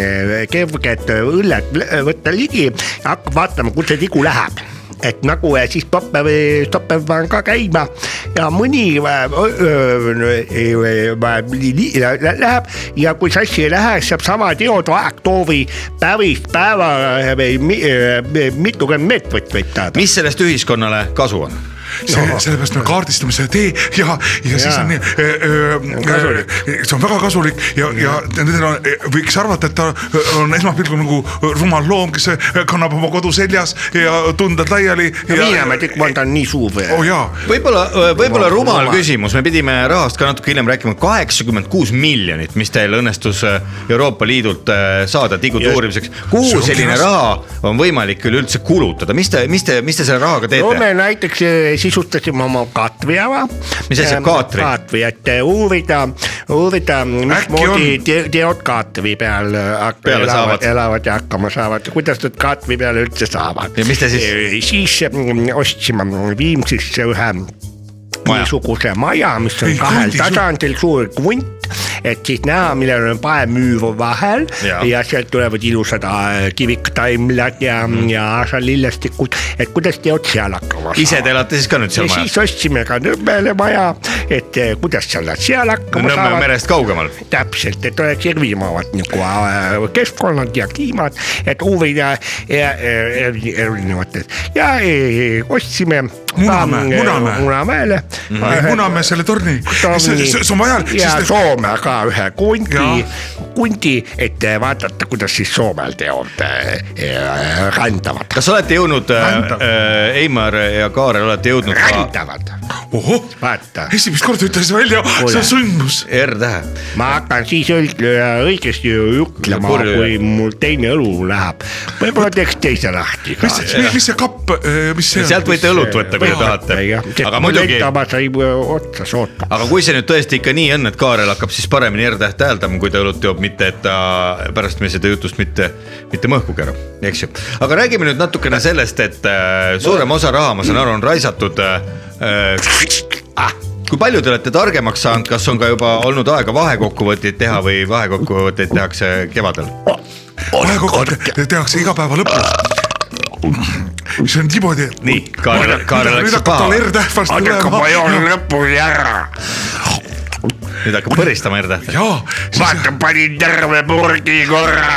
S2: kerget õllet vl- võtta ligi , hakkab vaatama , kus see tigu läheb et nagu eh, siis toppe või toppe panen ka käima ja mõni eh, öö, öö, eh, eh, li- li- lä- lä- läheb ja kui sassi ei lähe , saab sama teo aegtoovi päris päeva eh, või mi- eh, mitukümmend meetrit võib tähendada .
S5: mis sellest ühiskonnale kasu on ?
S4: see , sellepärast me kaardistame selle tee ja , ja, ja siis
S2: Jaa.
S4: on nii ,
S2: Kasulik.
S4: see on väga kasulik ja , ja nendel on , võiks arvata , et ta öö, on esmapilgul nagu rumal loom , kes öö, kannab oma kodu seljas ja tunded laiali .
S2: Viinemaa tikkvond on nii suur . eh.
S4: oo oh, jaa ,
S5: võib-olla , võib-olla
S2: Rumal-
S5: rumal
S2: rumal.
S5: küsimus , me pidime rahast ka natuke hiljem rääkima , kaheksakümmend kuus miljonit , mis teil õnnestus äh, Euroopa Liidult äh, saada tigude uurimiseks .
S4: See
S5: kuhu
S4: ongi
S5: selline
S4: raske.
S5: raha on võimalik üleüldse kulutada , mis te , mis te , mis te selle rahaga
S2: no
S5: teete
S2: me ? näiteks eh, sisustasime oma kaatrijava .
S5: Mis asi on kaatri?
S2: kaatri , et eh, uurida , uurida , mismoodi
S4: on-
S2: te- teod kaatri peal eh, hak-
S5: Peale
S2: elavad ,
S5: saavad.
S2: elavad ja hakkama saavad , kuidas nad kaatri peale üldse saavad .
S5: Ja mis te siis- ?
S2: siis eh, ostsime Viimsisse ühe
S5: Maja.
S2: niisuguse maja , mis
S4: Ei,
S2: on kahel
S4: krundi-
S2: tasandil suur kvunt et siis näha , millel on paemüür vahel
S5: Jaa.
S2: ja, ja sealt tulevad ilusad äh, kiviktaimlad ja mm. , ja aasalillastikud , et kuidas teod seal hakkama
S5: ise te elate siis ka nüüd
S2: ja
S5: seal majas
S2: siis ? ostsime ka Nõmmele maja , et eh, kuidas seal nad seal hakkama
S5: Nõmme
S2: saavad .
S5: merest kaugemal .
S2: täpselt , et oleks erinevad nagu äh, keskkonnad ja kliimad , et uurida ja, ja, erinevates ja eh, ostsime .
S4: Munamäe, Munamäe. Mhm.
S2: Munamäele mm.
S4: muname selle torni , see see- see on vajalik ,
S2: ja
S4: sest
S2: Soome ka ühe
S4: Jaa.
S2: kundi , kundi , et eh, vaadata , kuidas siis Soomel teod eh, eh, rändavad ,
S5: kas olete jõudnud ,
S4: Rändavad.
S5: Eimar ja Kaarel , olete jõudnud ka
S2: rändavad ,
S4: ohoh ,
S2: vaata
S4: esimest korda ütles välja , see on sündmus .
S5: R-tähe ?
S2: ma hakkan siis õig- äh, õigesti ütlema ,
S5: Purju, jah.
S2: kui mul teine õlu läheb , võib-olla teeks teise lahti ka
S4: mis , mis see kapp , mis see
S5: sealt
S4: on ?
S5: võite õlut võtta , kui te tahate . aga muidugi ,
S2: lendama sai otsa soota .
S5: aga kui see nüüd tõesti ikka nii on , et Kaarel hakkab siis paremini R-täht hääldama , kui ta õlut joob , mitte et ta pärast me seda jutust mitte , mitte mõhku keerab , eks ju . aga räägime nüüd natukene sellest , et äh, suurem osa raha , ma saan aru , on raisatud äh, äh, . kui palju te olete targemaks saanud , kas on ka juba olnud aega vahekokkuvõtteid teha või vahekokkuvõtteid tehakse kevadel ?
S4: vahekokkuvõte tehakse iga päeva lõpus . see on niimoodi , et
S5: nii , Kaarel , Kaarel
S4: nüüd
S5: läks
S4: hakkab tal
S5: paha ,
S4: R-täht varsti
S2: andke
S4: tulema .
S2: pajoon lõpuni ära ,
S5: nüüd hakkab põristama R-tähte .
S4: jaa ,
S2: vaata panin terve purgi korra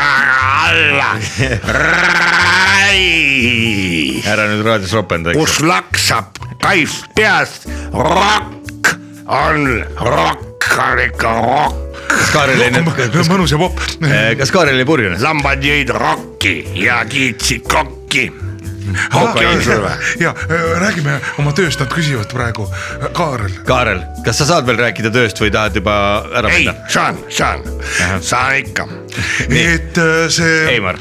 S2: alla . Rai ,
S5: ära nüüd raadios ropenda , eks
S2: kus laksab kaif peas , rokk on rokk , on ikka rokk ,
S5: ju . Kaarel jäi
S4: *laughs*
S5: nüüd ,
S4: mõnus ja popp .
S5: kas Kaarel jäi purjune ?
S2: lambad jõid rokki ja kiitsid kokki .
S4: ja eh, räägime oma tööst , nad küsivad praegu , Kaarel ,
S5: Kaarel , kas sa saad veel rääkida tööst või tahad juba ära
S2: ei
S5: minna ?,
S2: saan , saan , saan ikka
S4: et äh, see eh,
S5: Heimar. ,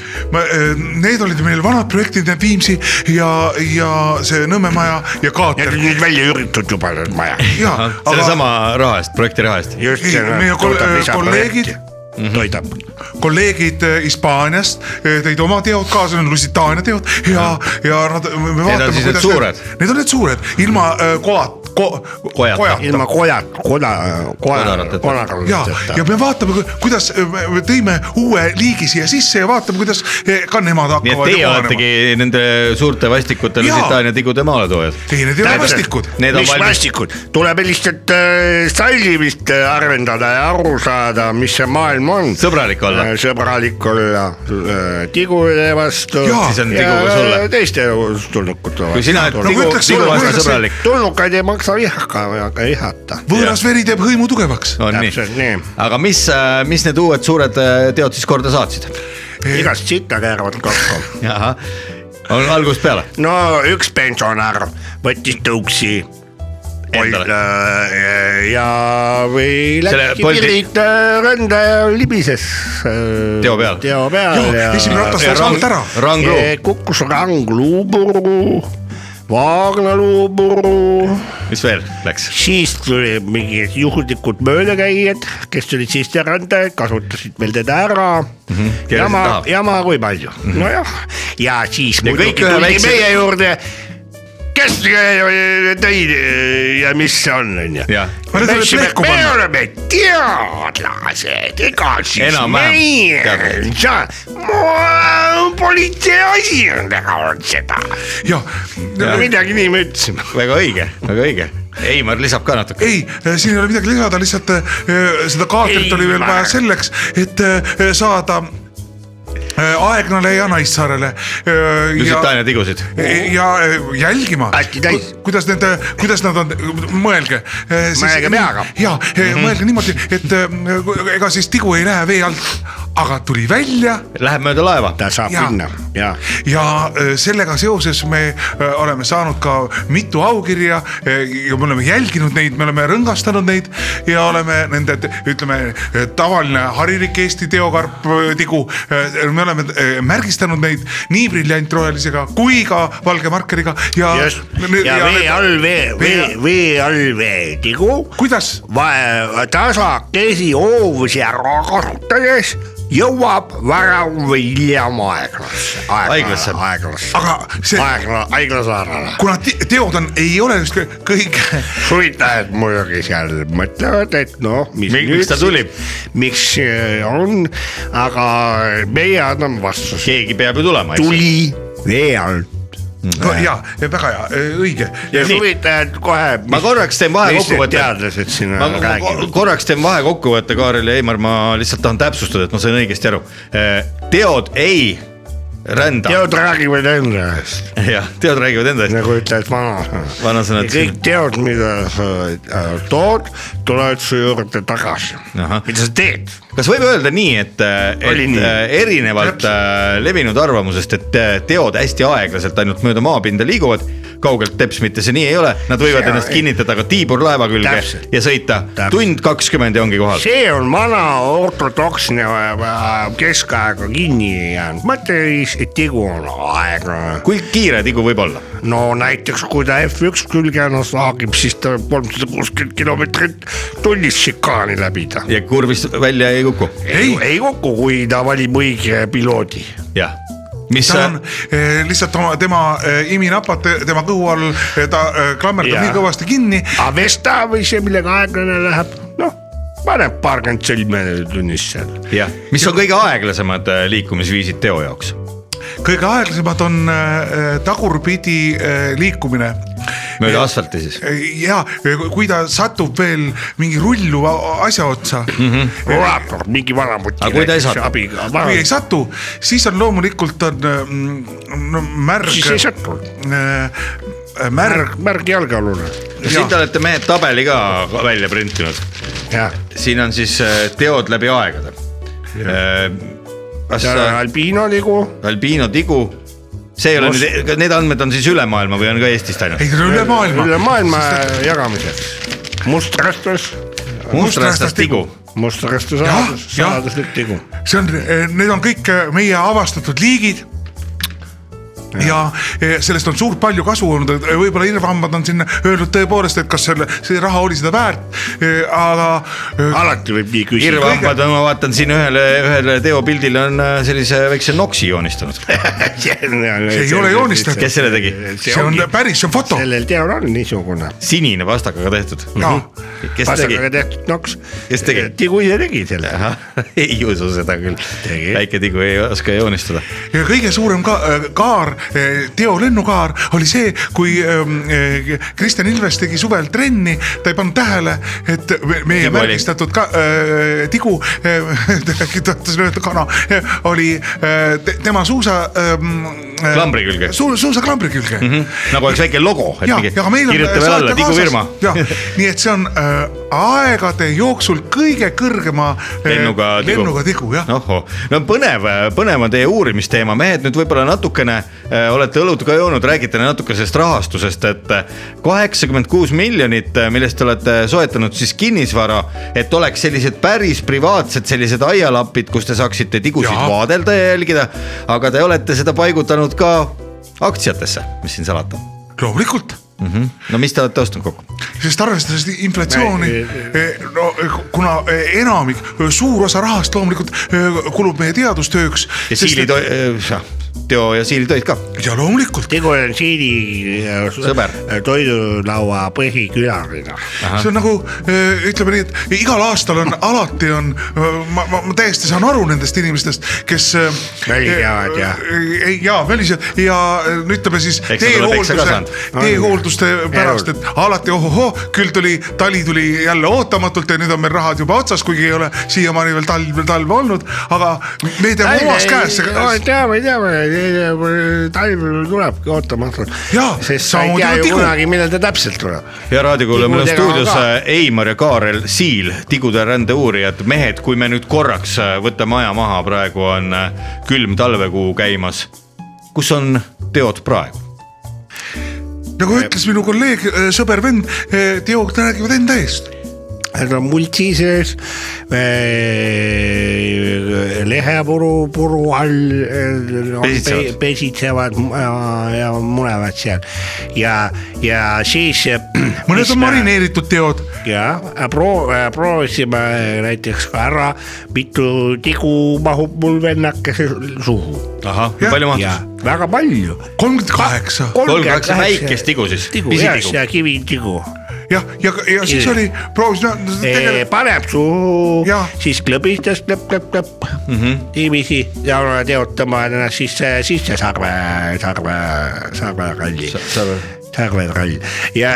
S4: need olid meil vanad projektid , need Viimsi ja , ja see Nõmme maja ja
S2: Need
S4: kaater
S2: on . nüüd välja üritatud juba need majad .
S4: jaa ,
S5: sellesama raha eest , projekti raha eest .
S2: just
S4: Ei,
S2: see
S4: meie kol- äh, kolleegid- .
S2: toidab .
S4: kolleegid äh, Hispaaniast äh, tõid oma teod kaasa , need on Lusitaania teod ja , ja nad . Need
S5: siis need suured.
S4: Need on need suured , ilma äh, koat- ko, ,
S5: Kojata.
S2: ilma koja , koda , koja ,
S5: Kodarateta.
S4: ja , ja
S2: kodarateta .
S4: me vaatame , kuidas äh, me tõime uue liigi siia sisse ja vaatame , kuidas äh, ka nemad
S5: nii et
S4: hakkavad .
S5: teie oletegi nende suurte vastikute
S4: Jaa.
S5: Lusitaania tigude maaletoojad .
S4: ei , need ei ole
S2: Täpselt.
S4: vastikud .
S5: Need on
S2: mis
S5: valmis ,
S2: vastikud , tuleb lihtsalt äh, sallimist äh, arendada ja aru saada , mis see maailm on .
S5: sõbralik olla .
S2: sõbralik olla äh, tigude vastu .
S4: Jaa.
S5: Siis on tiguga sulle.
S2: teiste tulnukute
S5: kui
S2: vastu .
S5: sina oled
S4: ma
S5: tigu ,
S4: ütleks,
S5: tigu
S4: ma
S5: vastu
S4: ütleks,
S5: sõbralik .
S2: tulnukaid ei maksa vihka , aga vihata .
S4: võõras veri teeb hõimu tugevaks .
S5: on
S2: täpselt
S5: nii
S2: nii. .
S5: aga mis , mis need uued suured äh, teod siis korda saatsid ?
S4: Äh,
S2: igast sitta keeravad kokku
S5: ahah , on algusest peale .
S2: no üks pensionär võttis tõuksi .
S5: Endale.
S2: ja või
S5: Selle
S2: läkski
S5: Bolti-
S2: piirid äh, rände ja libises .
S5: Teo peal.
S2: teo peal
S4: Joo,
S2: ja,
S4: esimene ratas läks alt ära .
S5: Rangluu ,
S2: Eh, kukkus rangluupuru Vaagnaluupuru ,
S5: mis veel läks ?
S2: siis tuli mingid juhuslikud möödakäijad , kes tulid sisserändajad , kasutasid meil teda ära mm . -hmm.
S5: Keerasid
S2: jama
S5: taha. ,
S2: jama kui palju , nojah , ja siis
S5: Ja Mhm. kõik
S2: muidugi
S5: ühe
S2: tuldi
S5: väikse-
S2: väikse... meie juurde , kes tõid ja mis see on , onju
S5: jah ,
S4: Ma nüüd
S2: me
S4: selle plehku panna.
S2: oleme teadlased , ega siis
S5: Enam-vähem
S2: meie
S5: teadlased. ,
S2: sa , politsei asi on teha olnud seda .
S4: jah , Äh,
S2: midagi nii me ütlesime .
S5: väga õige , väga õige . Heimar lisab ka natuke .
S4: ei , siin ei ole midagi lisada , lihtsalt eh, seda kaadrit oli veel vaja selleks , et eh, saada eh, Aegnale ja Äh, Naissaarele .
S5: Lusitaania tigusid .
S4: ja eh, jälgima
S2: Hästi täis. ,
S4: kuidas need , kuidas nad on , mõelge . E,
S2: Mõelge peaga.
S4: ja eh, mõelge niimoodi , et eh, ega siis tigu ei lähe vee alt , aga tuli välja
S5: Läheb mööda laeva .
S2: ta saab
S4: Jaa.
S2: minna ja
S4: ja eh, sellega seoses me eh, oleme saanud ka mitu aukirja eh, ja me oleme jälginud neid , me oleme rõngastanud neid ja oleme nende , ütleme eh, tavaline harilik Eesti teokarp eh, tigu . me oleme eh, märgistanud neid nii briljantrohelisega kui ka valge markeriga ja .
S2: just ja vee all vee , vee , vee all vee tigu ,
S4: kuidas
S2: tasakesi hoovusi ära kasutades jõuab varem või hiljem aeglasse ,
S5: Aeglasse. Ah,
S2: aeglasse ,
S4: aga see ,
S2: aegla , aeglasaarele .
S4: kuna ti- teod on , ei ole just kõ- kõige
S2: suvitajad muidugi seal mõtlevad , et noh , mis
S5: Mi- miks ta
S2: siis-
S5: tuli?
S2: miks äh, on , aga meie anname vastuse .
S5: keegi peab ju tulema .
S2: tuli vee alt .
S4: no, ja , väga hea , õige .
S2: ja
S5: nii.
S2: suvitajad kohe .
S5: ma korraks teen vahekokkuvõtte .
S2: teadlased siin
S5: ma ma ko-
S2: räägivad .
S5: korraks teen vahekokkuvõtte , Kaarel ja Heimar , ma lihtsalt tahan täpsustada , et ma sain õigesti aru . teod ei rända .
S2: teod räägivad enda eest ,
S5: *laughs* jah , teod räägivad enda eest ,
S2: nagu ütlevad vanasõnad .
S5: vanasõnad siin
S2: kõik . teod , mida sa äh, tood , tulevad su juurde tagasi
S5: Ahah. .
S2: mida sa teed ?
S5: kas võib öelda nii , et , et
S2: Oli nii.
S5: äh, erinevalt äh, levinud arvamusest , et äh, teod hästi aeglaselt ainult mööda maapinda liiguvad , kaugelt teps mitte see nii ei ole , nad võivad
S2: Jaa,
S5: ennast
S2: ei.
S5: kinnitada ka tiiburlaeva külge
S2: Täpselt.
S5: ja sõita
S2: Täpselt.
S5: tund kakskümmend ja ongi kohal .
S2: see on vana ortodoksne äh, keskaega kinni jäänud mõtteviis , et tegu on aeglane .
S5: kui kiire tigu võib olla ?
S2: no näiteks kui ta F1 külge ennast haagib , siis ta võib kolmsada kuuskümmend kilomeetrit tunnis šikaani läbida .
S5: ja kurvist välja ei kuku ,
S2: ei, ei kuku , kui ta valib õige piloodi .
S5: jah . mis
S4: ta on , lihtsalt oma , tema eh, iminapad te- tema kõhu all , ta eh, klammerdab
S2: Jaa.
S4: nii kõvasti kinni .
S2: aga Vesta või see , millega aeglane läheb , noh , paneb paarkümmend sõlme tunnis seal .
S5: jah , mis on kõige aeglasemad äh, liikumisviisid teo jaoks ?
S4: kõige aeglasemad on eh, tagurpidi eh, liikumine .
S5: mööda asfalti siis ?
S4: ja kui ta satub veel mingi rulluva asja otsa mm , -hmm.
S2: Mhm. rulaator , mingi vanamuti .
S5: Aga kui ta ei saa-
S2: abiga ,
S4: kui ei satu , siis on loomulikult on mm, no, märg .
S2: siis ei satu ,
S4: märg ,
S2: märg , märg jalgealune ,
S5: no siin te olete mehed tabeli ka välja printinud
S2: jah
S5: siin on siis äh, teod läbi aegade . kas
S2: seal on
S5: äh,
S2: albiino nagu ligu ,
S5: Albino tigu , see ei ole nüüd , need andmed on siis üle maailma või on ka Eestist
S4: ei
S5: ainult ?
S4: ta on üle maailma .
S2: üle maailma jagamiseks . mustrastus ,
S5: mustrastas tigu ,
S2: mustrastus
S4: Jah,
S2: saadus ,
S4: jah.
S2: saaduslik tigu .
S4: see on , need on kõik eh, meie avastatud liigid . ja eh, sellest on suurt palju kasu olnud , et võib-olla irvhambad on sinna öelnud tõepoolest , et kas selle , see raha oli seda väärt , aga eh,
S2: alati võib nii küsida .
S5: kirvehambad on , ma vaatan siin ühele , ühele teopildile on äh, sellise väikse noksi *laughs* joonistanud .
S2: *laughs* see
S4: ei ole joonistatud.
S5: kes selle tegi ?
S4: see on päris , see on foto .
S2: sellel teol on niisugune .
S5: sinine pastakaga tehtud .
S4: Jaa.
S5: kes tegi
S2: pastakaga ? tehtud noks .
S5: Kes tegi?
S2: tigu ise tegi selle .
S5: *laughs* ei usu seda küll ,
S2: Tegi.
S5: väike tigu ei oska joonistada .
S4: ja kõige suurem ka, äh, kaar , Teo lennukaar oli see , kui ähm, äh, Kristjan Ilves tegi suvel trenni , ta ei pannud tähele , et me- meie
S5: Tigu oli.
S4: märgistatud ka, äh, tigu äh, , *laughs* tahtis öelda kana , oli äh, te, tema suusa ähm, .
S5: Klambri külge.
S4: su, . suusa klambri külge mm . -hmm.
S5: nagu oleks väike logo , et
S4: ja ,
S5: mingi
S4: ja meil on . äh,
S5: kirjuta veel alla , tigufirma .
S4: jah , nii et see on äh, aegade jooksul kõige kõrgema äh,
S5: *laughs* lennuga tigu .
S4: lennuga tigu jah .
S5: ohoh , no põnev , põnev on teie uurimisteema , mehed nüüd võib-olla natukene äh, olete õlut ka joonud , räägite natuke sellest rahastusest , et äh, kaheksakümmend kuus miljonit , millest te olete soetanud siis kinnisvara , et oleks sellised päris privaatsed sellised aialapid , kus te saaksite tigusid
S4: Jaa.
S5: ja. vaadelda ja jälgida , aga te olete seda paigutanud ka aktsiatesse , mis siin salata .
S4: loomulikult ,
S5: no mis te olete ostnud kokku ?
S4: sest arvestades inflatsiooni eh,
S2: Ei, ,
S4: no kuna eh, enamik , suur osa rahast loomulikult eh, kulub meie teadustööks .
S5: ja siilitoi- , teo ja siilitoit ka .
S4: ja loomulikult ,
S2: tegu on Siili äh,
S5: Sõber.
S2: äh, toidulaua põhikülaline .
S4: see on nagu eh, ütleme nii , et igal aastal on alati on , ma, ma , ma täiesti saan aru nendest inimestest , kes . eh,
S2: Välisjavad ja- .
S4: ei ja välisjavad ja eh, no ütleme siis
S5: Eks nad ole peksa
S4: teehoolduse
S5: ka saanud. ,
S4: teehoolduste pärast , et alati ohohoo , küll tuli , tali tuli jälle ootamatult ja nüüd on meil rahad juba otsas , kuigi ei ole siiamaani veel talv , talve olnud , aga me teame omast käest .
S2: teame , teame , talv tulebki ootamatult .
S4: Jaa,
S2: sest sa ei
S4: samamoodi
S2: tea
S4: on
S2: ju
S4: tigu.
S2: kunagi , millal ta täpselt tuleb .
S5: ja raadiokuulaja , meil on
S2: Tigudega
S5: stuudios
S2: ka.
S5: äh, Eimar ja Kaarel Siil , tigude rändeuurijad , mehed , kui me nüüd korraks äh, võtame aja maha , praegu on äh, külm talvekuu käimas . kus on teod praegu ?
S4: nagu ütles minu kolleeg , sõber vend , eh, teod räägivad enda eest .
S2: Need on multsi sees , lehepuru , puru all äh, on
S5: Pesitsevad.
S2: pe- pesitsevad ja- ja munevad seal ja , ja siis .
S4: mõned on . marineeritud teod
S2: ja äh, proo- , proovisime näiteks ka ära , mitu tigu mahub mul vennakese suhu
S5: ahah ,
S4: Jah,
S5: palju
S2: ja
S5: mahtus ?
S2: väga palju .
S4: kolmkümmend kaheksa .
S5: kolmkümmend kaheksa väikest tigu siis ,
S2: tigu ,
S5: pisitigu .
S2: ja kivitigu
S4: jah , ja , ja siis
S2: Jah.
S4: oli proovis no, .
S2: Eh, paneb suhu
S4: Jah. , Mhm.
S2: siis klõbistas klõpp-klõpp-klõpp niiviisi ja teotama ennast sisse , sisse sarve , sarve , sarveralli , sarverall ja .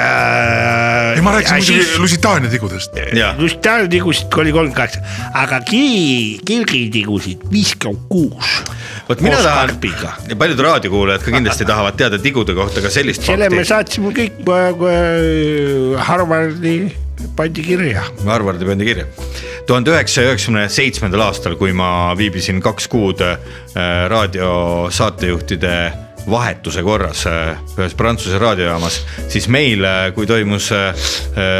S4: ei , ma rääkisin muidugi Lusitaania tigudest .
S5: ja ,
S2: just tal tigusid oli kolmkümmend kaheksa , aga kiri , kirgitigusid viiskümmend kuus .
S5: vot mina
S2: Koos
S5: tahan
S2: karpiga. ,
S5: ja paljud raadiokuulajad ka kindlasti tahavad teada tigude kohta ka sellist
S2: selle me
S5: fakti .
S2: saatsime kõik äh, Harvardi pandi kirja
S5: Harvardi pandi kirja . tuhande üheksasaja üheksakümne seitsmendal aastal , kui ma viibisin kaks kuud äh, raadiosaatejuhtide vahetuse korras äh, ühes Prantsuse raadiojaamas , siis meil , kui toimus äh,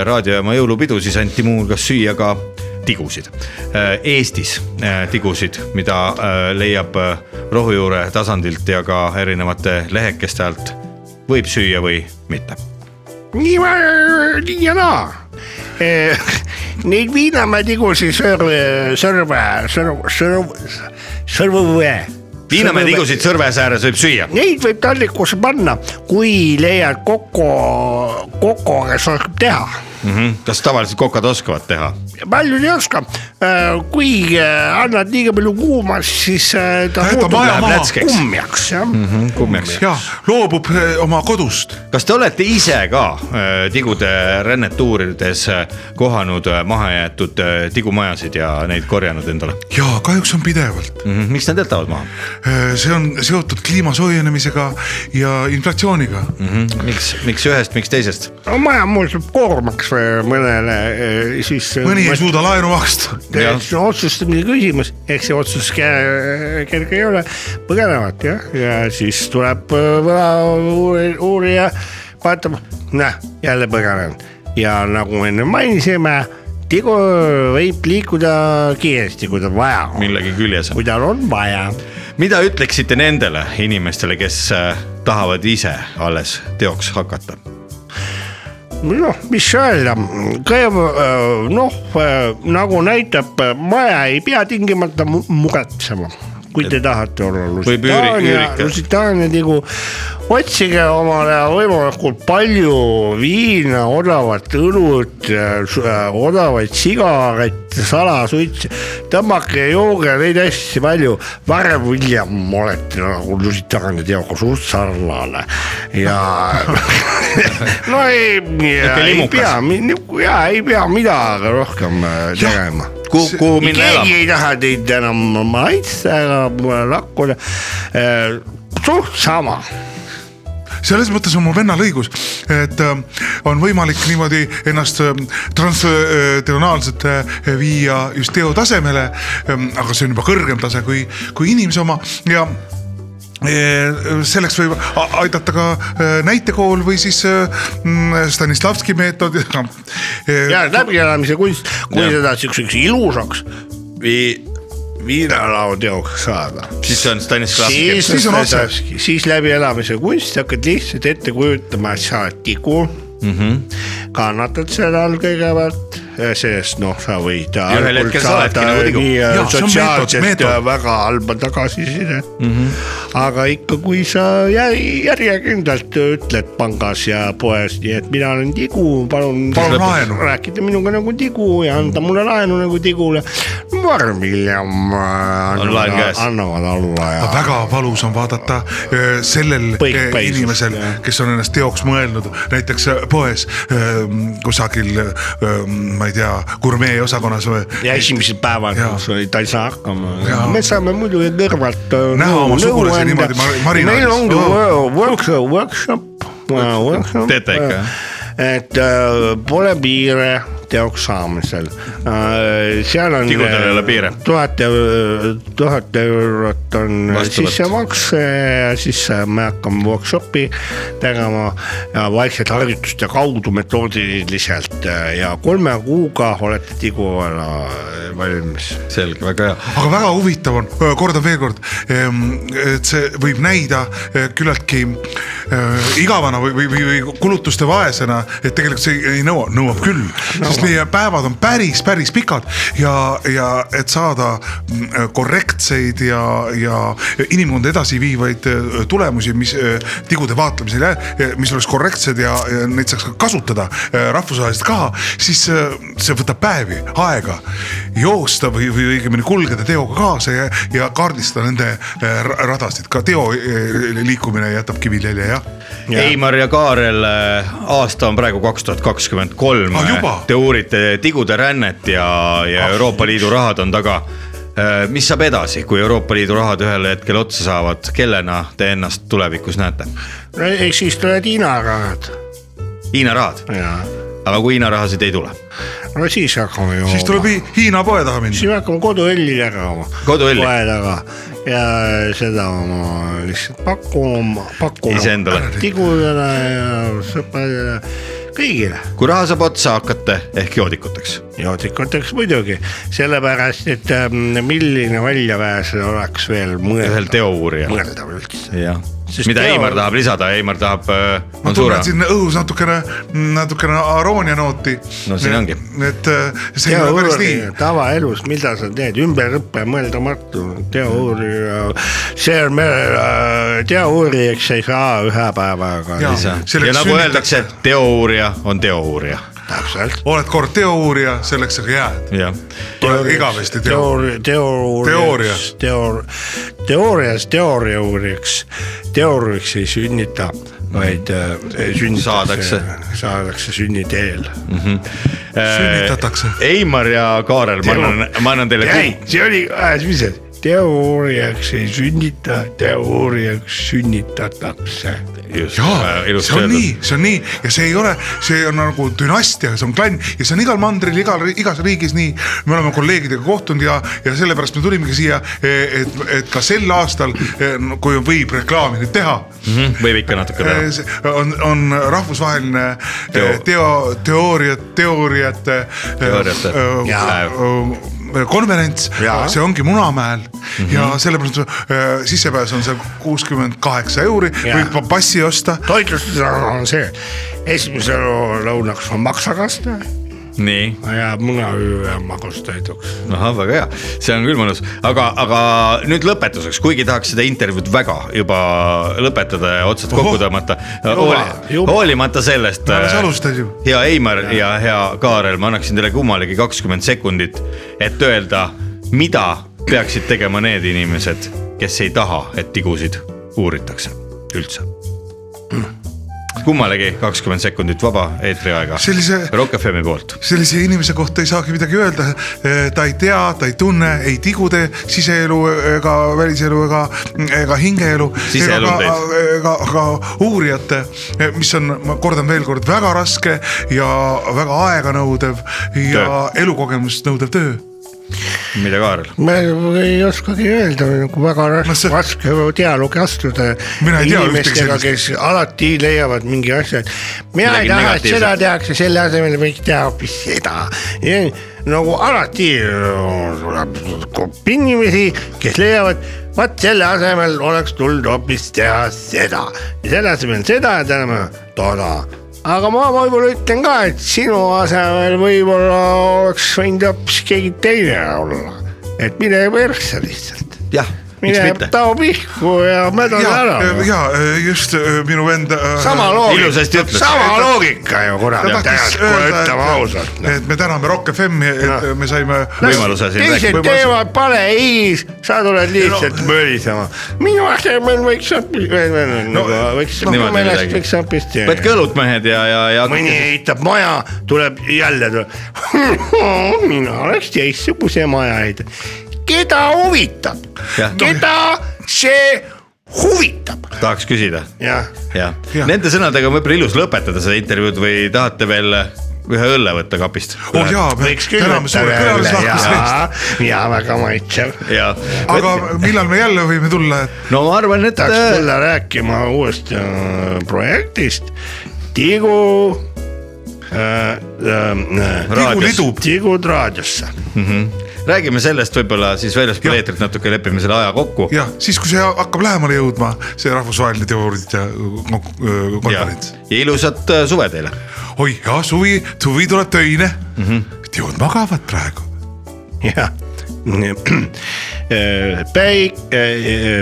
S5: raadiojaama jõulupidu , siis anti muuhulgas süüa ka tigusid . Eestis äh, tigusid , mida äh, leiab äh, rohujuure tasandilt ja ka erinevate lehekeste alt , võib süüa või mitte .
S2: nii , nii ja naa . Neid Viinamäe tigusid sõrve , sõrve , sõrve , sõrve , sõrve .
S5: Viinamäe . tigusid Sõrvesääres võib süüa .
S2: Neid võib tallikusse panna , kui leiad Koko , Koko , kes oskab teha .
S5: mm . -hmm. kas tavaliselt kokad oskavad teha ?
S2: paljud ei oska . kui äh, annad liiga palju kuuma , siis äh, ta
S4: Läheb ta
S2: muutub
S4: maja maha.
S2: kummjaks jah mm . -hmm.
S5: kummjaks .
S4: ja loobub eh, oma kodust .
S5: kas te olete ise ka äh, tigude rännetuurides äh, kohanud äh, mahajäetud äh, tigumajasid ja neid korjanud endale
S4: ja kahjuks on pidevalt .
S5: mm ? -hmm. miks nad jätavad maha
S4: see on seotud kliima soojenemisega ja inflatsiooniga .
S5: mm ? -hmm. miks , miks ühest , miks teisest ?
S2: maja muutub koormaks või mõnele äh, siis .
S4: mõni ei suuda laenu maksta .
S5: Jah.
S2: see on otsustamise küsimus , ehk see otsus kä- kerge ei ole , põgenevad jah , ja siis tuleb äh, võla uurija , vaatab , näh , jälle põgenenud ja nagu enne mainisime , tigu võib liikuda kiiresti , kui tal vaja on ,
S5: millegi küljes on .
S2: kui tal on vaja .
S5: mida ütleksite nendele inimestele , kes äh, tahavad ise alles teoks hakata ?
S2: noh , mis öelda , kõigepealt noh , nagu näitab , maja ei pea tingimata mu- muretsema , kui te tahate olla
S5: Võib üüri-
S2: Lusitaania ,
S5: üürika.
S2: Lusitaania tigu . nagu otsige omale võimalikult palju viina , odavat õlut , odavaid sigarette , salasuitse , tõmmake ja jooge neid hästi palju , varem või hiljem olete nagu Lusitaania teoga suht sarnane ja *laughs* no ei , ei
S5: limukas.
S2: pea , ja ei pea midagi rohkem äh, tegema .
S5: kuhu , kuhu minna
S2: keegi
S5: elama ?
S2: ei taha teid enam maitsega lakkuda . äh, suht sama ,
S4: selles mõttes on mu vennal õigus , et äh, on võimalik niimoodi ennast äh, transdiagonaalselt äh, viia just teo tasemele . aga see on juba kõrgem tase kui , kui inimese oma ja äh, selleks võib a- aidata ka äh, näitekool või siis äh, mm, Stanislavski meetod . äh,
S2: ja läbielamise kunst , kui
S5: Jah.
S2: sa tahad siukseks ilusaks , viinalao teoks saada .
S5: siis see on Stanislavski .
S2: siis
S4: Siis on
S2: on
S4: otse.
S2: Stanislavski , siis läbielamise kunst , hakkad lihtsalt ette kujutama , et sa oled tigu mm . -hmm. kannatad selle all kõigepealt , sest noh , sa võid .
S5: ühel hetkel sa oledki nagu tigu.
S4: Jaa, see on
S2: sotsiaalselt
S4: meetod, meetod.
S2: äh, väga halba tagasisidet mm . -hmm. aga ikka , kui sa jär, järjekindlalt äh, ütled pangas ja poes , nii et mina olen tigu , palun .
S4: Palun laenu.
S2: rääkida minuga nagu tigu ja anda mulle laenu nagu tigule . ma arvan , hiljem
S5: laen
S2: annavad
S5: käes.
S2: annavad alla ja
S4: aga . väga valus on vaadata öö, sellel öö,
S2: Põikpäisus,
S4: inimesel , kes on ennast teoks mõelnud , näiteks öö, poes öö, kusagil , ma ei tea , gurmee osakonnas või
S2: ja esimesel päeval
S4: Jaa. ,
S2: kus oli , ta ei saa hakkama
S4: Jaa. .
S2: me saame muidu kõrvalt äh,
S4: Näha
S2: nõu-
S4: oma
S2: nõu
S4: sugulasi
S2: anda.
S4: niimoodi mar- marinaadis.
S2: meil ongi
S4: Oo.
S2: wo- workshop , workshop , workshop .
S5: Teete ikka, jah? ?
S2: et äh, pole piire teoks saamisel . seal on . äh,
S5: Tigudel ei ole piire.
S2: tuhat , tuhat eurot on
S5: Vastuvõtt.
S2: sissemakse ja siis äh, me hakkame workshopi tegema ja vaikselt harjutuste kaudu metoodiliselt äh, ja kolme kuuga olete tigu ära äh, valmis .
S5: selge , väga hea .
S4: aga väga huvitav on , kordan veel kord , et see võib näida öö, küllaltki öö, igavana või , või , või või kulutuste vaesena , et tegelikult see ei nõua , nõuab küll , sest meie päevad on päris , päris pikad ja , ja et saada mm, korrektseid ja , ja inimkonda edasiviivaid öö, tulemusi , mis öö, tigude vaatlemisel , mis oleks korrektsed ja, ja neid saaks ka kasutada öö, rahvusvaheliselt ka , siis öö, see võtab päevi , aega joosta või , või õigemini kulgeda teoga kaasa ja , ja kaardistada nende öö, ra- radasid , ka teo öö, liikumine jätab kiviljelje jah .
S5: Heimar ja Kaarel , aasta on praegu kaks tuhat kakskümmend kolm
S4: Ah, juba? . Ah,
S5: Te uurite tigude rännet ja , ja Euroopa Liidu rahad on taga . mis saab edasi , kui Euroopa Liidu rahad ühel hetkel otsa saavad , kellena te ennast tulevikus näete ?
S2: ehk siis tuled hiinarahad
S5: Hiina rahad ,
S2: ja
S5: aga kui Hiina rahasid ei tule ,
S2: no siis hakkame jooma .
S4: siis tuleb Hi- Hiina poe taha
S2: siis
S4: minna .
S2: me hakkame koduõlli jagama .
S5: Koduõlli?
S2: kohe taga ja seda ma lihtsalt pakuma , pakuma
S5: iseendale .
S2: tigudele ja sõpradele , kõigile .
S5: kui raha saab otsa , hakkate ehk joodikuteks .
S2: joodikuteks muidugi , sellepärast et ähm, milline väljapääs oleks veel
S5: ühel
S2: mõeldav ,
S5: teouurijal .
S2: mõeldav üldse .
S5: jah ,
S2: Sest
S5: mida
S2: teo-
S5: Heimar tahab lisada , Heimar tahab ,
S4: ma
S5: on suure
S4: tunnen , siin õhus natukene , natukene aroonia nooti .
S5: No siin ongi.
S4: et öö, see ei ole päris nii .
S2: tavaelus , mida sa teed , ümberõpe mõeldamatu , teouurija , see on meil , teouurijaks äh, ei saa ühe päevaga .
S4: Jaa.
S5: ja
S4: selleks
S5: nagu
S4: sünnitakse-
S5: öeldakse , teouurija on teouurija ,
S2: täpselt .
S4: oled kord teouurija , selleks aga jääd .
S5: jah .
S4: igavesti teo- .
S2: teooria , teooriaks , teoor- , teoorias teooria uurijaks , teooriaks ei sünnita , vaid äh, sünnitakse ,
S5: Saadakse.
S2: saadakse sünniteel .
S4: Sünnitatakse.
S5: Heimar ja Äh, Kaarel , ma
S2: Teo-
S5: annan , ma annan teile
S2: ei
S5: kuu ,,
S2: see oli , mis see , teooriaks ei sünnita , teooriaks sünnitatakse .
S5: just
S4: jaa ,
S5: äh,
S4: see
S5: ilusti
S4: on
S5: öeldud .
S4: nii , see on nii ja see ei ole , see on nagu dünastia , see on klann ja see on igal mandril , igal , igas riigis nii . me oleme kolleegidega kohtunud ja , ja sellepärast me tulimegi siia , et , et ka sel aastal , kui võib reklaami nüüd teha ,
S5: Mhm, võib ikka
S4: Äh,
S5: natuke teha ,
S4: on , on rahvusvaheline eh, teo , teooriat , teooriate . e,
S5: Teooriate. Jaa.
S4: konverents ,
S2: Jaa.
S4: see ongi Munamäel mm -hmm.
S5: Mhm.
S4: ja sellepärast eh, sissepääs on seal kuuskümmend kaheksa euri ,
S2: Jaa.
S4: võib pa- passi osta
S2: toitlustusala on see , esimesel lõunaks on maksakaste
S5: nii ,
S2: ja munaöö on magustoiduks .
S5: ahah , väga hea , see on küll mõnus , aga , aga nüüd lõpetuseks , kuigi tahaks seda intervjuud väga juba lõpetada ja otsad kokku tõmmata ,
S2: juba.
S5: hoolimata sellest . äh,
S4: alles alustad ju.
S5: hea Heimar ja hea Kaarel , ma annaksin teile kummalegi kakskümmend sekundit , et öelda , mida peaksid tegema need inimesed , kes ei taha , et tigusid uuritakse üldse . kummalegi kakskümmend sekundit vaba eetriaega
S4: Sellise-
S5: Rock FM-i poolt .
S4: sellise inimese kohta ei saagi midagi öelda . ta ei tea , ta ei tunne ei tigude siseelu ega väliselu ega , ega hingeelu .
S5: Siseelu
S4: ega
S5: on ,
S4: ega ka uurijate , mis on , ma kordan veel kord , väga raske ja väga aeganõudev ja
S5: Töö.
S4: elukogemust nõudev töö .
S5: mida Kaarel ?
S2: ma ei oskagi öelda , nagu väga raske
S4: No
S2: no, ,
S4: see-
S2: see... raske dialoogi astuda .
S4: Mina ei tea ühtegi
S2: inimestega ,
S4: sellist.
S2: kes alati leiavad mingi asja , et mina
S5: Midagi
S2: ei taha , et
S5: negatiivset.
S2: seda tehakse , selle asemel võiks teha hoopis seda . nagu alati äh, tuleb grupp inimesi , kes leiavad , vot selle asemel oleks tulnud hoopis teha seda ja selle asemel seda ja täna toda aga ma võib-olla ütlen ka , et sinu asemel võib-olla oleks võinud hoopis keegi teine olla , et mine persse lihtsalt .
S5: jah , miks
S2: mine
S5: mitte .
S2: tao pihku ja mädane ära noh.
S4: ja ,. ja just äh, minu vend .
S2: sama loogika
S5: Ilusasti , ütles.
S2: sama loogika ju kurat ,
S4: ta tahtis
S2: ütleme
S4: öelda ,
S2: ausalt noh.
S4: et , et me täname Rock FM-i , et me saime .
S5: võimaluse siin
S2: teised
S5: rääkida .
S2: teevad , pane ei , sa tuled lihtsalt no. mölisema . minu asemel võiks hoopis , võiks , minu
S5: niimoodi midagi.
S2: meelest võiks hoopis
S5: võtke
S2: teha .
S5: õlut , mehed ja , ja , ja .
S2: mõni ehitab maja , tuleb jälle , *laughs* mina oleks teistsuguse maja ehitanud . keda huvitab ,
S5: Jah.
S2: keda see huvitab ,
S5: tahaks küsida ,
S2: jah .
S5: jah . Nende sõnadega on võib-olla ilus lõpetada seda intervjuud või tahate veel ühe õlle võtta kapist ?
S4: oh jaa , me
S2: võiks küll
S4: täname suure külalislahkuse *laughs* eest ,
S2: eest . ja väga maitsev .
S5: ja ,
S4: aga millal me jälle võime tulla , et
S5: no ma arvan , et
S2: tahaks tulla rääkima uuest äh, projektist Tigu äh, . Äh,
S4: tigu
S5: raadios
S4: lidub ,
S2: Tigud raadiosse , *laughs*
S5: räägime sellest võib-olla siis väljaspool eetrit natuke , lepime selle aja kokku .
S4: jah , siis kui see hakkab lähemale jõudma , see rahvusvaheline teooriate konk- öö,
S5: ja
S4: äh, konverents .
S5: ilusat äh, suve
S4: *laughs*
S5: teile .
S4: oi jah , suvi , suvi tuleb töine mm . -hmm. teod magavad praegu .
S2: jah . äh, päik- ,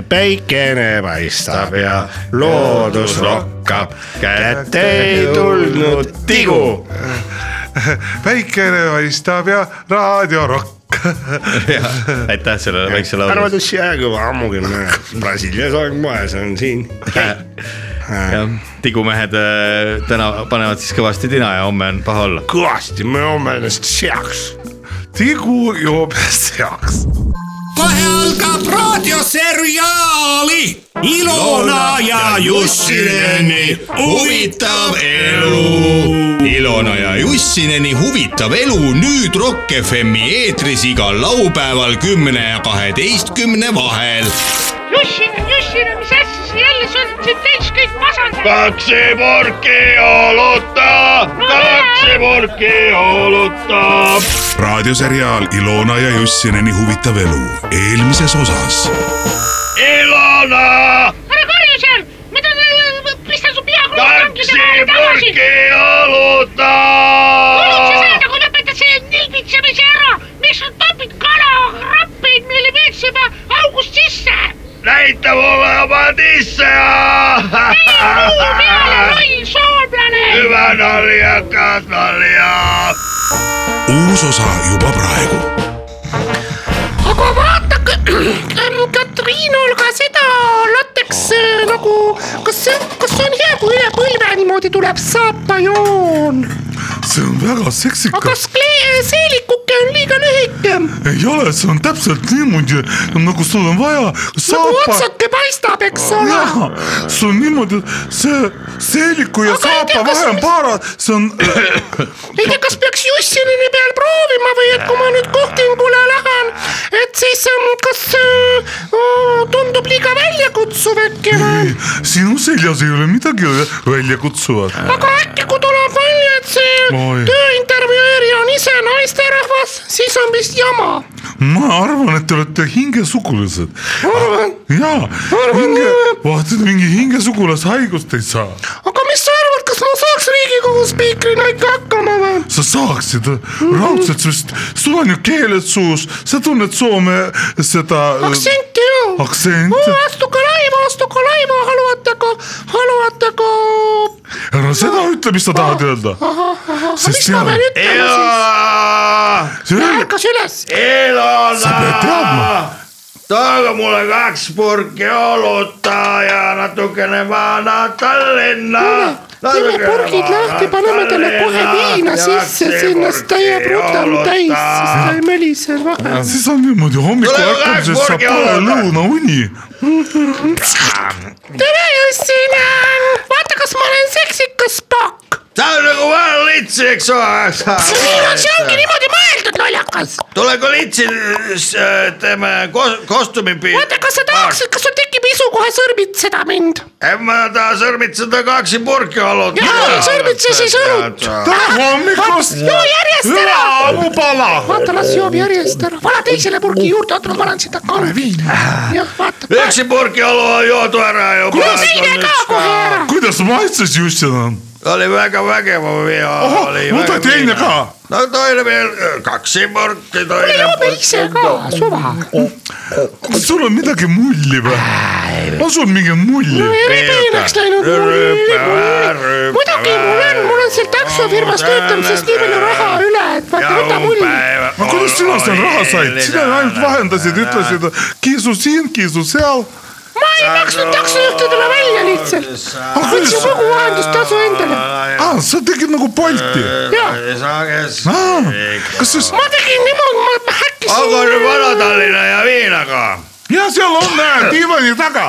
S2: päikene paistab ja loodus rokkab , kätte ei tulnud tigu .
S4: päikene paistab ja raadio rock .
S5: aitäh sellele väiksele laulule .
S2: arvates jäägu ammugi , Brasiilias on moes , on siin .
S5: Äh, tigumehed äh, täna panevad siis kõvasti tina ja homme on paha olla .
S2: kõvasti , me oleme ennast seaks .
S4: tigu joob seaks .
S1: kohe algab raadioseriaali Ilona ja Jussineni huvitav elu . Ilona ja Jussineni huvitav elu nüüd Rock FM-i eetris igal laupäeval kümne ja kaheteistkümne vahel .
S7: Jussin , Jussin , mis asja sa jälle , sul on siin täis kõik masendad .
S8: raadioseriaal Ilona ja Jussineni huvitav elu eelmises osas .
S7: ära karju seal , ma tahan , pistan su pea kohe tankide vahele tagasi . hoolitse seda , kui lõpetad nagu selle nilbitsemise ära , miks sa topid kalakrappeid meile veetsema august sisse . näita mulle oma tisse . ei , muu peale , loll soomlane .
S8: uus osa juba praegu
S7: aga vaadake , *clears throat* Katriinul ka seda lateks äh, nagu , kas see , kas see on hea , kui üle põlve niimoodi tuleb saapajoon ,
S4: see on väga
S7: aga
S4: seksikas
S7: kas . klee- äh, seelikuke on liiga lühike ?
S4: ei ole , see on täpselt niimoodi , nagu sul on vaja .
S7: nagu otsake paistab , eks ole .
S4: jah , see on niimoodi , see seeliku ja
S7: Aga ei tea,
S4: saapa
S7: kas-
S4: vahe on paar , see on ,
S7: ei tea , kas peaks Jussinini peal proovima või et kui ma nüüd kohtingule lähen , et siis ähm, kas äh, äh, tundub liiga väljakutsuv äkki või ?
S4: Niin. sinu seljas ei ole midagi é väljakutsuvat .
S7: aga äkki , kui tuleb välja , et see
S4: Oi.
S7: tööintervjueerija on ise naisterahvas , siis on vist jama .
S4: ma arvan , et te olete hingesugulased . jaa , hinge , vaata et mingi hingesugulashaigus ei saa ,
S7: aga mis sa arvad , kas ma saaks Riigikogu spiikrina ikka hakkama või ?
S4: sa saaksid äh, raudselt , sest sul on ju keeled suus , sa tunned Soome äh, seda .
S7: aktsenti ju .
S4: aktsent ,
S7: astuge laiva , astuge laiva , haluatega , haluatega .
S4: ära seda ütle , mis sa tahad öelda . sest
S7: mis ma
S4: jaa
S7: pean , ütlema siis ?
S4: see
S7: ärkas üles .
S4: sa pead teadma .
S5: tooge mulle kaks purki oluta ja natukene vana Tallinna .
S7: teeme purgid lahti , paneme talle kohe viina sisse , sinna täie prutam täis , siis ta ei mölise vahel .
S4: siis on niimoodi hommikul
S5: Tule
S4: ärkamises
S5: korgi
S4: saab kohe
S5: alla.
S4: lõunauni .
S7: tere , Jussin , vaata , kas ma olen seksikas pakk .
S5: ta on nagu vana lits , eks ole .
S7: see ongi niimoodi mõeldud , lollakas . rahvas .
S5: tule Golitsin , teeme kos- , kostüümi
S7: oota , kas sa tahaksid , kas sul tekib isu kohe sõrmitseda mind ?
S5: ma tahan sõrmitseda kaheksa purki olnud .
S7: jaa , sõrmitse siis õlut . hommikust . joo järjest
S4: Ah,
S7: ära .
S6: mu pala .
S7: vaata , las joob järjest ära , pane teisele purgi juurde , oota ma panen seda
S4: ah,
S7: kalvi . jah , vaata .
S5: üksi purki õlu joodu ära juba
S7: kuule , teine ka kohe ära .
S4: kuidas maitses just seda ?
S5: oli väga vägev ja
S4: Oh,
S5: oli .
S4: mul tuli teine ka .
S5: no toine veel , äh, kaks purki ,
S7: kuule ,
S5: toine
S7: joome ise ka , suva .
S4: kas sul on midagi mulli või ? on sul mingi mulli ?
S7: peeneks läinud , mul oli , muidugi mul on , mul on seal taksofirmas töötamisest nii palju raha üle , et vaata , võta mulli .
S4: no kuidas sina seal raha said , sina ainult vahendasid , ütlesid kiisu siin , kiisu seal .
S7: ma ei maksnud taksojuhtidele välja lihtsalt , võtsin kogu vahendustasu endale .
S4: aa , sa tegid nagu Bolti .
S7: jaa ,
S4: Ah.
S5: sages .
S4: kas siis ,
S7: ma tegin niimoodi , ma ma häkkisin .
S5: aga nüüd Vana-Tallinna ja viinaga .
S4: ja seal on , näe , diivani taga .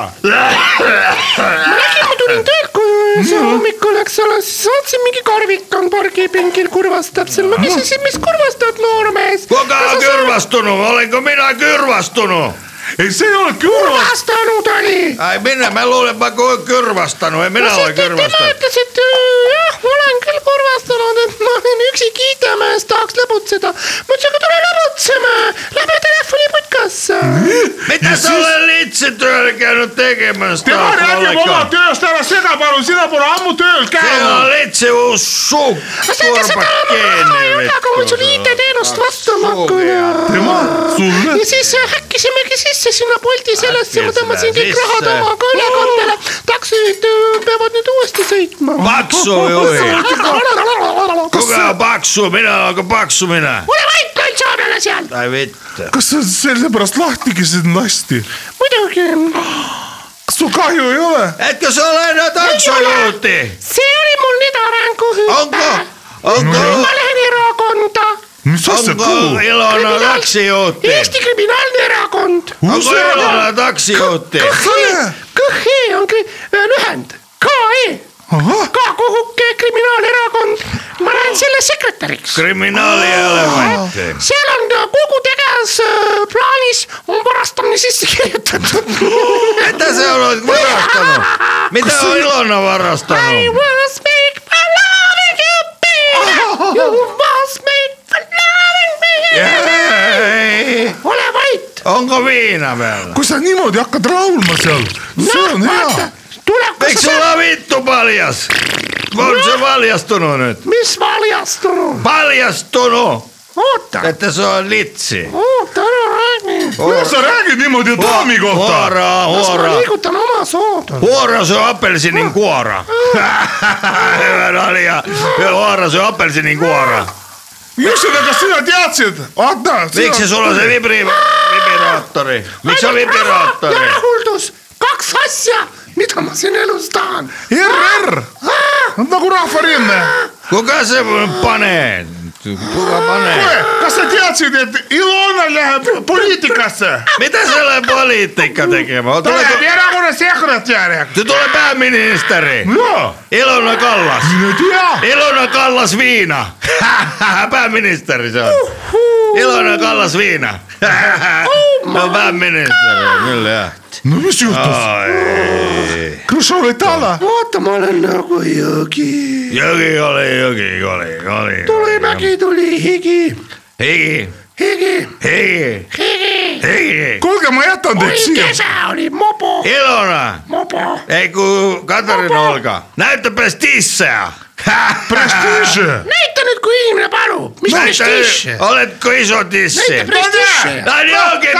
S7: ma nägin , ma tulin töölt koju öösel hommikul , eks ole , siis vaatasin mingi karvik on pargipingil , kurvastab seal , ma küsisin , mis kurvastad , noormees .
S5: kogu aeg kürvastunu , olen ka mina kürvastunu .
S4: ei , see ei ole küür .
S7: kurvastanud oli
S5: ei mine , ma luulen , ma kogu aeg kürvastanu ja mina
S7: no
S5: olen
S7: siit , et tema
S5: kürvastanud .
S7: ütles , et öö, jah , ma olen küll kurvastanud , et ma olen üksi Kiitemäes , tahaks lõbutseda . ma ütlesin , aga tule lõbutseme , lähme telefoniputkasse .
S5: mida sa oled lihtsalt tööl käinud tegemas ?
S4: tema räägib oma tööst , ära sega palun , sina pole ammu tööl
S5: sina
S4: käinud .
S5: oled see ussu .
S7: aga sa ütlesid , et aa, ma raha ei ole , aga mul sul
S5: Ah,
S7: IT-teenust vastama hakkan ja .
S4: tema , sulle
S7: ja siis äh, häkkisimegi sisse sinna Bolti sellesse , ma tõmbasin kõik
S5: Sisse.
S7: rahad oma kõnekandele . taksojuhid öö, peavad nüüd uuesti sõitma .
S5: paksu juhi , kogu aeg paksu , mina olen ka paksu mina .
S7: ole vait , loll soomlane seal .
S5: ai vitt .
S4: kas sa sellepärast lahti käisid lasti ?
S7: muidugi ,
S4: kas sul kahju ei ole ?
S5: et kas sa oled enam taksojuhti ?
S7: see oli mul nüüd
S5: onko
S7: arenguhüpe ,?
S4: No
S5: onko ,
S7: ma lähen erakonda
S4: mis asja
S5: onko
S4: kuhu ?
S5: Ilona
S7: Kriminaal-
S5: taksojuhti ?
S7: Eesti kriminaalne erakond .
S5: onko Ilona taksojuhti ?
S7: KHE on kri- äh, lühend , E. KE ,
S4: ahah ,
S7: K-kohuke kriminaalerakond , ma lähen selle sekretäriks .
S5: kriminaali ei ole vaja .
S7: seal on äh, kogu tegevusplaanis on varastamine sisse
S4: *laughs*
S7: kirjutatud .
S5: mida sa oled varastanud ? mida on Ilona
S7: I
S5: varastanud ?
S7: was made for loving you baby , you was made for loving me . ole vait ,
S5: onko viina peal ?
S4: kui sa niimoodi hakkad raulma seal , see on hea .
S7: tuleb , kas
S5: miks
S7: sa
S5: sul on vittu paljas ? on see valjastunud nüüd ?
S7: saad , mis valjastunud ,
S5: paljastunu ,
S7: oota ,
S5: et sa oled litsi .
S7: oota ära räägi
S4: kuidas sa räägid niimoodi daami kohta ?
S5: koora ,
S7: kas ma
S5: koora ,
S7: liigutan oma soodu ?
S5: koora su apelsinikuora . hea nalja , koora su apelsinikuora .
S4: ühesõnaga , kas sina teadsid ? vaata .
S5: miks see sul on see vibri- , vibraatori , miks sa vibraatori ?
S7: rahuldus , kaks asja , mida ma siin elus tahan . Ah!
S4: ERR , nagu Rahvarinne .
S5: kuga sa paned , kuga paned ,
S4: kas sa teadsid , et Ilona läheb poliitikasse ?
S5: mida selle poliitika tegema ,
S4: ta läheb
S5: tule ,
S4: erakonna sekretäriks .
S5: tule pääministri ,
S4: jaa ,
S5: Ilona Kallas ,
S4: mine tea .
S5: Ilona Kallas viina , *laughs* pääminister see on . Ilona Kallas viina . *laughs* no pääminister on küll jah .
S4: no mis juhtus ? kas sa oled tala ?
S7: vaata , ma olen nagu jõgi .
S5: jõgi oli , jõgi oli , oli .
S7: tuli mägi , tuli higi ,
S5: higi ,
S7: higi ,
S5: higi ,
S7: higi .
S5: higi .
S4: kuulge , ma jätan teid
S7: oi ,
S4: siia .
S7: kese oli mobo ,
S5: Ilona ,
S7: mobo .
S5: ei kui Katariina Olga , näita prestiižse .
S4: prestiiž .
S7: näita nüüd , kui inimene palub , mis prestiiž .
S5: oled kõisutissi
S7: näita . prestiiži .
S5: ta nii ongi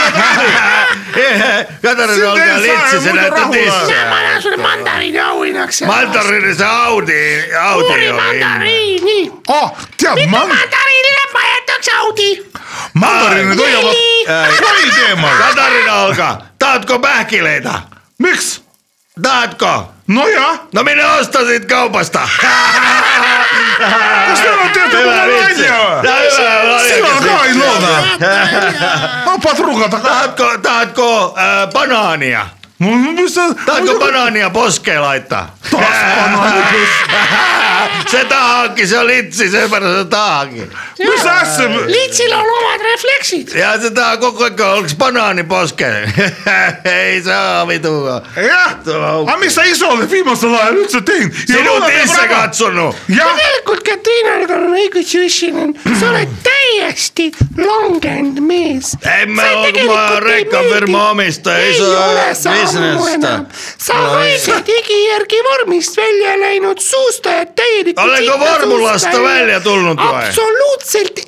S5: *laughs* tiss . Katariina
S4: Sind ei
S5: Olga
S4: saa ju
S5: lihtsalt
S4: muidu
S5: näita
S4: rahule.
S5: tissi .
S7: ma annan sulle mandariini auhinnaks .
S5: mandariini see Audi , Audi
S7: uuri
S5: oli .
S7: mandariini .
S4: ah , tead ,
S7: mitu
S4: man- ,
S7: mandariini ma jätaks Audi ?
S4: mandariinid hoiavad
S5: Äh,
S4: kai teemal .
S5: Katariina Olga , tahatko pähkileida ?
S4: miks ?
S5: tahatko ?
S4: nojah ,
S5: no mine osta siit kaubast . *laughs*
S4: kas te teete mulle nalja või ? sina ka ei looda . no padruga taga .
S5: e, tahatko , tahatko äh, banaani ? Tahanko banaania poskeen laittaa? *laughs* se tahankin, se on litsi, sen verran se tahankin.
S4: mis asja ,
S7: litsil on omad refleksid .
S5: Ja se tahan koko ajan, onks banaani poskeen? *laughs* Ei saa vitua.
S4: jah , aga mis sa ise oled viimasel ajal üldse teinud ?
S5: Sinut isse katsonut.
S4: jah ,
S7: tegelikult Katriinal on õigus Jussinen ,
S5: *clears throat*
S7: sa oled täiesti langenud mees .
S5: Ei mä oo, kun mä oon rekkafirma omistaja, ei
S7: ei
S5: se oo
S7: ole sa ammu
S5: bisnestä.
S7: enam . sa
S5: No ei
S7: haised igijärgi vormist välja läinud suustajad täielikult .
S5: Olenko vormulasta välja tullut vai?
S7: absoluutselt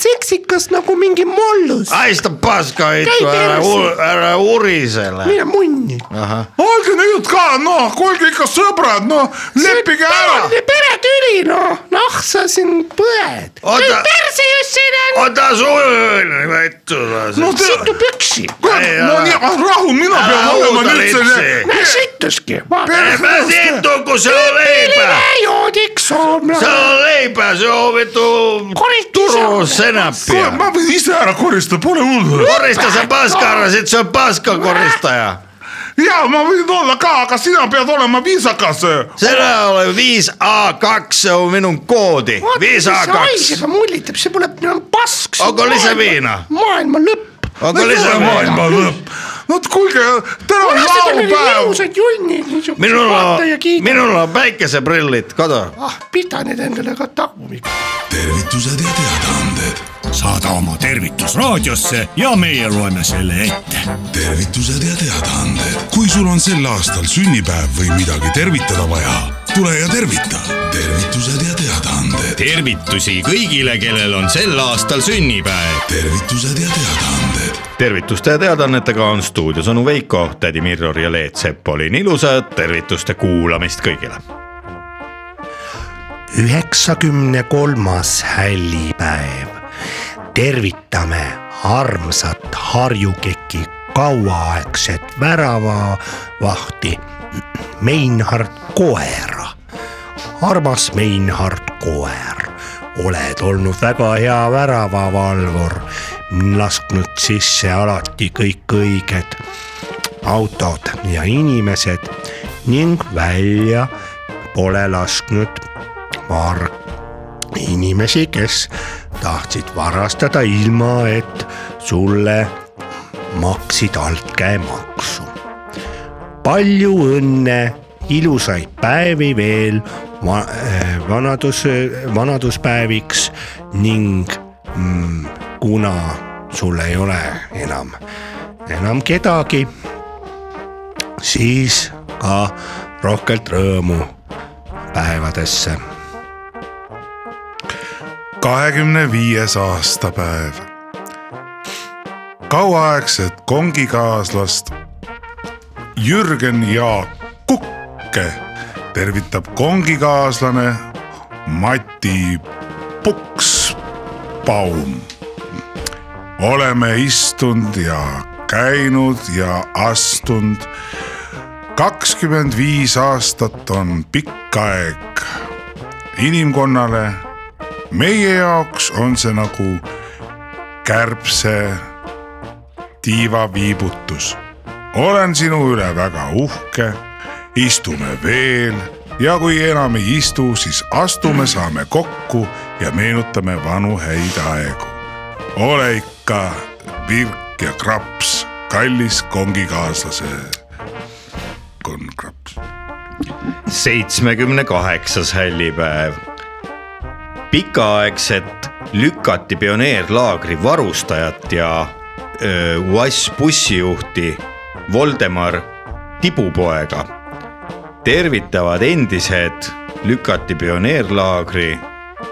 S7: ebaseksikas nagu mingi mollus .
S5: Aista paskaa itku,
S7: Käy
S5: älä,
S7: perse.
S5: ur- älä urisele.
S7: mine munni .
S4: olge nüüd ka , noh , olge ikka sõbrad , noh , leppige ära .
S7: peretüli noh , noh sa siin põed .
S5: Oota-
S7: perse Jussinen .
S5: Ota suun, vittu.
S4: no te ,
S7: situ püksi .
S5: Ei
S4: no
S5: ole.
S4: nii , rahu , mina
S5: Älä
S4: pean olema
S5: huuda
S4: nüüd
S5: litsi.
S4: selle ,
S7: Mä sittuskin. Mä
S5: Ei mä sittu, kun se on leipää.
S7: Jootiks on.
S5: Se on leipää, se on vittu Turun senäppiä.
S4: ma võin ise ära koristada , pole hullu .
S5: Korista se paskaara, sit se on paskakoristaja.
S4: ja ma võin olla ka , aga sina pead olema viisakas .
S5: Senä olen 5A2, se on minun koodi. 5A2.
S7: haisega mullitab , see pole enam pask .
S5: Onko lisäviinaa?
S7: maailma lõpp .
S5: Onko lisää?
S4: maailma lõpp . no kuulge , täna on laupäev .
S7: ilusad junnid , niisugused
S5: Minulla on,
S7: vaata ja kiida .
S5: minulla on päikkäsebrillit, kato.
S7: ah , pida need endale ka tagumikku .
S8: tervitused ja teadaanded ,
S1: saada oma tervitus raadiosse ja meie loeme selle ette .
S8: tervitused ja teadaanded . kui sul on sel aastal sünnipäev või midagi tervitada vaja , tule ja tervita . tervitused ja teadaanded ,
S1: tervitusi kõigile , kellel on sel aastal sünnipäev .
S8: tervitused ja teadaanded .
S5: tervituste ja teadaannetega on stuudios onu Veiko , tädi Mirror ja Leet Sepolin , ilusat tervituste kuulamist kõigile .
S2: üheksakümne kolmas hällipäev . tervitame armsat Harjukeki kauaaegset väravavahti Meinhard Koera . armas Meinhard Koer , oled olnud väga hea väravavalvur , lasknud sisse alati kõik õiged autod ja inimesed ning välja pole lasknud paar inimesi , kes tahtsid varastada , ilma et sulle maksid altkäemaksu . palju õnne , ilusaid päevi veel va äh, vanadus , vanaduspäeviks ning mm, kuna sul ei ole enam , enam kedagi , siis ka rohkelt rõõmu päevadesse
S4: kahekümne viies aastapäev . kauaaegset kongikaaslast Jürgen ja Kukke tervitab kongikaaslane Mati Puksbaum . oleme istunud ja käinud ja astunud . kakskümmend viis aastat on pikk aeg inimkonnale meie jaoks on see nagu kärbse tiivaviibutus . olen sinu üle väga uhke , istume veel ja kui enam ei istu , siis astume , saame kokku ja meenutame vanu häid aegu . ole ikka virk ja kraps , kallis kongikaaslase . konn kraps .
S5: seitsmekümne kaheksas hällipäev . pikaaegset lükati pioneerlaagri varustajat ja öö, UAS bussijuhti Voldemar Tibupoega tervitavad endised lükati pioneerlaagri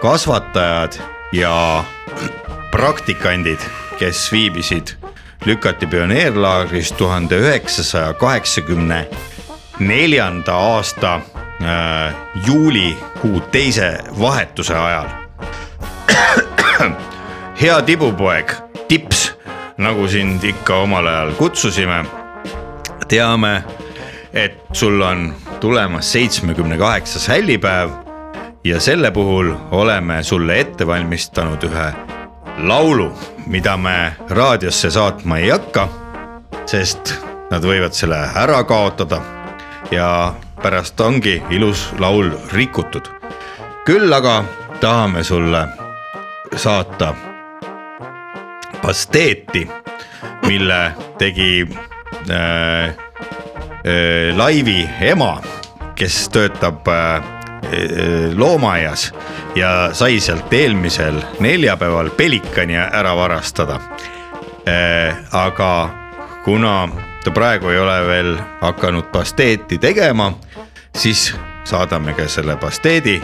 S5: kasvatajad ja *clears throat* praktikandid , kes viibisid lükati pioneerlaagris tuhande üheksasaja kaheksakümne neljanda aasta äh, juulikuu teise vahetuse ajal . *clears throat* hea tibupoeg , tips , nagu sind ikka omal ajal kutsusime . teame , et sul on tulemas seitsmekümne kaheksas hällipäev ja selle puhul oleme sulle ette valmistanud ühe laulu , mida me raadiosse saatma ei hakka , sest nad võivad selle ära kaotada ja pärast ongi ilus laul rikutud . küll aga tahame sulle saata pasteeti , mille tegi äh, äh, Laivi ema , kes töötab äh, äh, loomaaias ja sai sealt eelmisel neljapäeval pelikani ära varastada äh, . aga kuna ta praegu ei ole veel hakanud pasteeti tegema , siis saadame ka selle pasteedi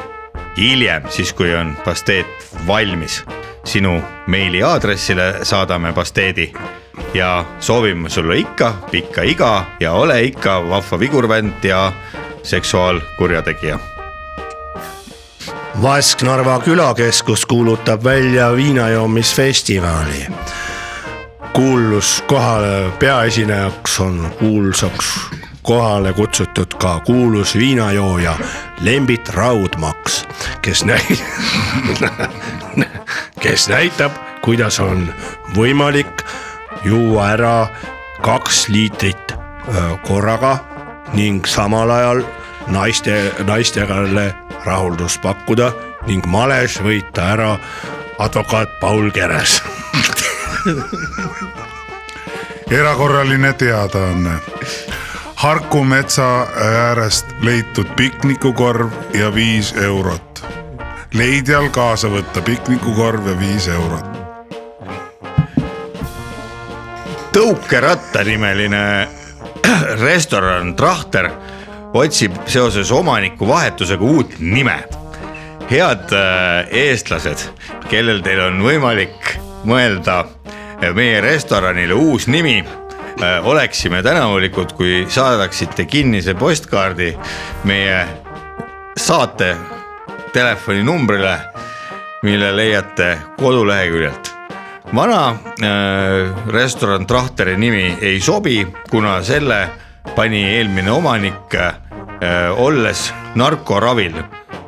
S5: hiljem , siis kui on pasteet valmis . sinu meiliaadressile saadame pasteedi ja soovime sulle ikka pikka iga ja ole ikka vahva vigurvend ja seksuaalkurjategija .
S2: Vasknarva külakeskus kuulutab välja viinajoomisfestivali . kuulus kohale , peaesinejaks on kuulsaks kohale kutsutud ka kuulus viinajooja Lembit Raudmaks , kes näi- *laughs* kes näitab , kuidas on võimalik juua ära kaks liitrit öö, korraga ning samal ajal naiste , naistele rahuldust pakkuda ning males võita ära advokaat Paul Keres .
S4: erakorraline teadaanne . Harku metsa äärest leitud piknikukorv ja viis eurot . leidjal kaasa võtta piknikukorv ja viis eurot .
S5: tõukerattanimeline *clears throat* restoran Trahter otsib seoses omaniku vahetusega uut nime . head äh, eestlased , kellel teil on võimalik mõelda meie restoranile uus nimi , oleksime tänulikud , kui saadaksite kinnise postkaardi meie saate telefoninumbrile , mille leiate koduleheküljelt vana äh, restoran Trahteri nimi ei sobi , kuna selle pani eelmine omanik äh, olles narkoravil ,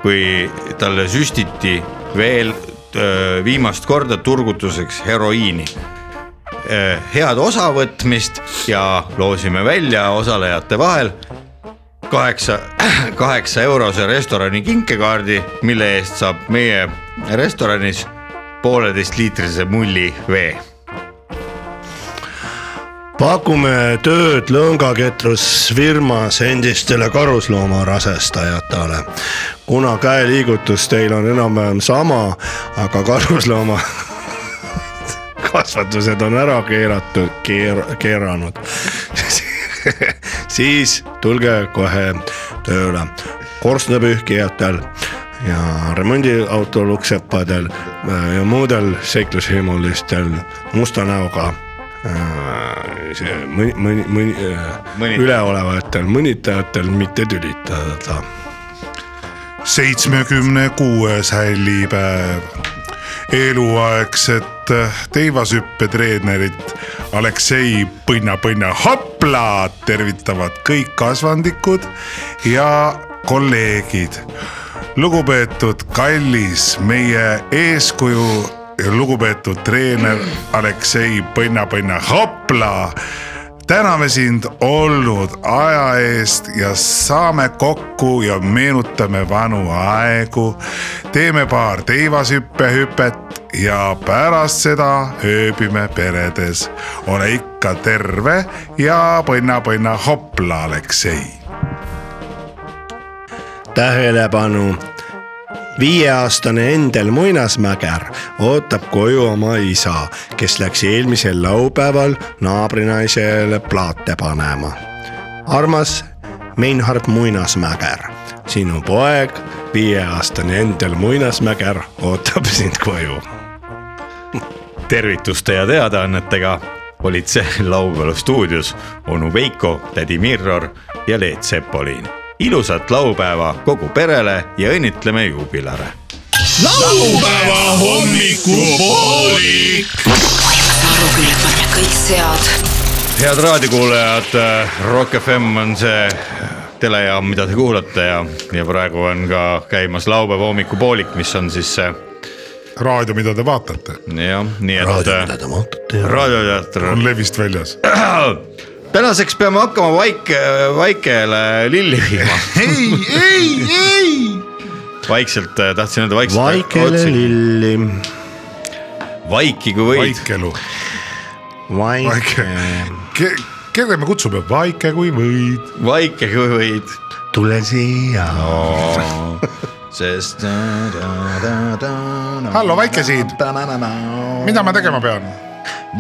S5: kui talle süstiti veel äh, viimast korda turgutuseks heroiini äh, . head osavõtmist ja loosime välja osalejate vahel kaheksa , *clears throat* kaheksa eurose restorani kinkekaardi , mille eest saab meie restoranis pooleteistliitrise mulli vee .
S2: pakume tööd lõngaketlusfirmas endistele karusloomarassestajatele . kuna käeliigutus teil on enam-vähem sama , aga karuslooma kasvatused on ära keeratud , keer- , keeranud , siis tulge kohe tööle korstnapühkijatel ja remondiauto luksepadel äh, ja muudel seiklushimulistel musta näoga äh, see mõni , mõni , mõni, mõni.
S5: Mõni-
S2: üleolevatel mõnitajatel mitte tülitada .
S4: seitsmekümne kuues hällipäev . eluaegset teivashüppetreenerit Aleksei Põnna-Põnna Haplat tervitavad kõik kasvandikud ja kolleegid . lugupeetud kallis , meie eeskuju , lugupeetud treener Aleksei Põnna-Põnna Hapla täname sind olnud aja eest ja saame kokku ja meenutame vanu aegu . teeme paar teivashüppehüpet ja pärast seda ööbime peredes . ole ikka terve ja põnna-põnna hopla , Aleksei .
S2: tähelepanu , viieaastane Endel Muinasmäger ootab koju oma isa , kes läks eelmisel laupäeval naabrinaisele plaate panema . armas Meinhard Muinasmäger , sinu poeg , viieaastane Endel Muinasmäger ootab sind koju .
S5: tervituste ja teadaannetega olid *laughs* see laupäeva stuudios onu Veiko , tädi Mirror ja Leet Sepolin . ilusat laupäeva kogu perele ja õnnitleme juubilare .
S9: laupäeva hommikupoolik .
S7: kuule kõik sead .
S5: head raadiokuulajad , Rock FM on see äh, telejaam , mida te kuulate ja , ja praegu on ka käimas laupäeva hommikupoolik , mis on siis see
S4: raadio , mida te vaatate ,
S5: jah , nii et .
S2: te vaatate
S5: raadioteater
S4: on levist väljas .
S5: tänaseks peame hakkama vaike , vaikele lilli viima .
S1: ei , ei , ei .
S5: vaikselt äh, tahtsin öelda vaikselt .
S2: vaikele . lilli ,
S5: vaiki , kui võid .
S4: vaikelu ,
S2: vaike ,
S4: vaike . kelle me kutsume , vaike kui võid .
S5: vaike , kui võid .
S2: tule siia .
S5: *laughs* sest .
S4: hallo , Vaike siin , mida ma tegema pean ?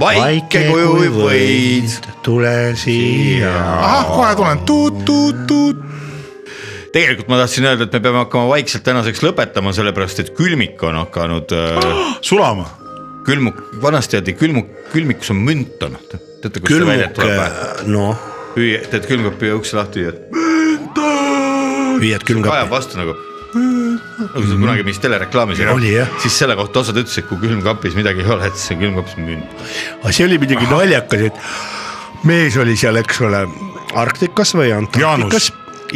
S5: vaike , kui võid .
S2: tule siia .
S4: ahah , kohe tulen , tuut-tuut-tuut .
S5: tegelikult ma tahtsin öelda , et me peame hakkama vaikselt tänaseks lõpetama , sellepärast et külmik on hakanud äh, ,
S4: sulama .
S5: külmuk , vanasti öeldi külmuk , külmikus on münt on . teate , kust see välja
S6: külmuk
S5: tuleb ?,
S6: noh ,
S5: hüüa , teed külmkapi ukse lahti ja
S6: viied
S5: ajab
S6: külmkapi .
S5: vastu nagu . nagu see kunagi mingis telereklaamis
S6: Oli, jah.
S5: siis selle kohta osad ütlesid , et kui külmkapis midagi ei ole , et siis on külmkapis münt .
S2: aga see oli muidugi naljakas , et mees oli seal , eks ole , Arktikas või Antarktikas
S4: Jaanus. .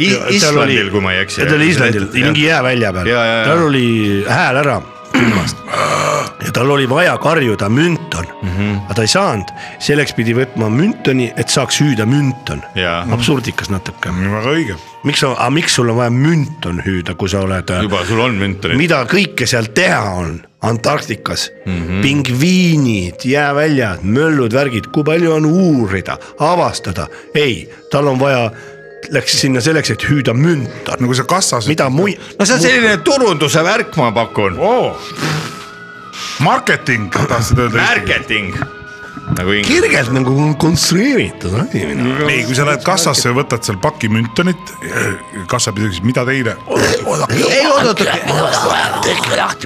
S5: I- Islandil , kui ma ei eksi .
S2: ta oli Islandil , mingi jäävälja peal
S5: Ja, ja, ja. ,
S2: tal oli hääl ära külmast ja tal oli vaja karjuda Münton mm ,
S5: Mhm.
S2: -hmm. aga ta ei saanud , selleks pidi võtma Müntoni , et saaks hüüda Münton
S5: Jaa. ,
S2: absurdikas natuke .
S4: väga õige .
S2: miks sa , aga miks sul on vaja Münton hüüda , kui sa oled , äh,
S5: juba sul on münt on .
S2: mida kõike seal teha on Antarktikas mm ,
S5: Mhm.
S2: -hmm. pingviinid , jääväljad , möllud , värgid , kui palju on uurida , avastada , ei , tal on vaja , läks sinna selleks , et hüüda Münton .
S4: nagu sa kassas .
S2: mida mui- ,
S5: no see on selline turunduse värk , ma pakun .
S4: oo , marketing tahtsid öelda .
S5: Marketing . nagu inglise .
S2: kirgelt nagu konstrueeritud asi minu arust .
S4: ei , kui sa lähed kassasse ja võtad seal paki müntonit , kassapidaja küsib , mida teile .
S5: ei oodata .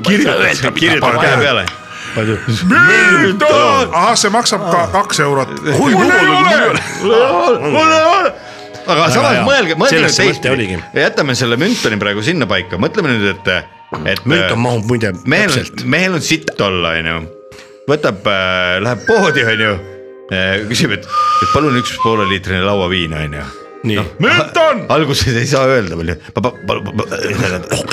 S5: kirjuta , kirjuta käe peale .
S4: ahah , see maksab ka kaks eurot . mul ei ole .
S5: aga samas
S2: hea.
S5: mõelge , mõelge nüüd
S2: Sellest see mõte
S5: teistpidi
S2: oligi. .
S5: jätame selle müntoni praegu sinnapaika , mõtleme nüüd , et , et .
S2: Münton mahub muide
S5: mehel
S2: täpselt .
S5: on , mehel on sitt olla , onju . võtab äh, , läheb poodi , onju äh, , küsib , et , et palun üks pooleliitrine lauaviin , onju . noh,
S2: nii no. ,
S4: münton ,
S5: *laughs* alguses ei saa öelda palju . vabandust ,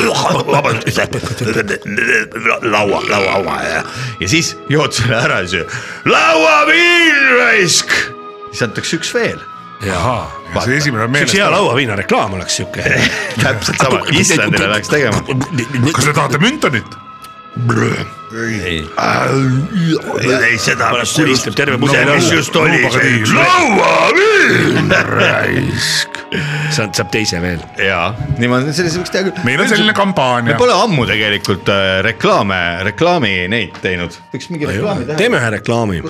S5: laua , laua , laua ja , ja siis jood selle ära , siis ju lauaviin raisk . siis antakse üks veel .
S4: see esimene on meeles
S2: üks . hea lauaviina reklaam oleks
S5: *laughs*
S2: siuke .
S5: täpselt sama , Islandile läheks tegema .
S4: kas te tahate müntonit ?
S5: ei , seda .
S2: kuristab terve pudeli
S5: mis
S2: alla ,
S5: just oli . lauaviin raisk .
S2: saab , saab teise veel .
S5: jaa , niimoodi , sellise võiks teha küll .
S4: meil on selline
S5: me
S4: kampaania .
S5: pole ammu tegelikult äh, reklaame , reklaami neid teinud . võiks mingi reklaami teha .
S2: teeme ühe reklaami .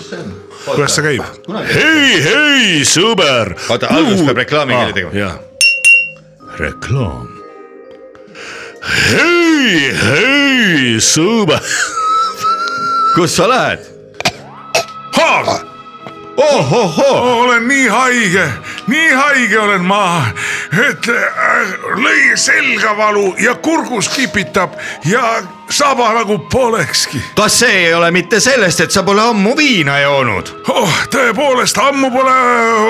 S4: kuidas see käib ?
S2: hei , hei sõber .
S5: oota , alguses peab
S2: Ah,
S5: reklaami keeli tegema .
S2: jaa . reklaam . hei , hei sõber .
S5: kus sa lähed ? ohohoo ,
S4: olen nii haige , nii haige olen ma , et äh, lõi selga valu ja kurgus kipitab ja saba nagu polekski
S5: kas see ei ole mitte sellest , et sa pole ammu viina joonud ?
S4: oh, . tõepoolest ammu pole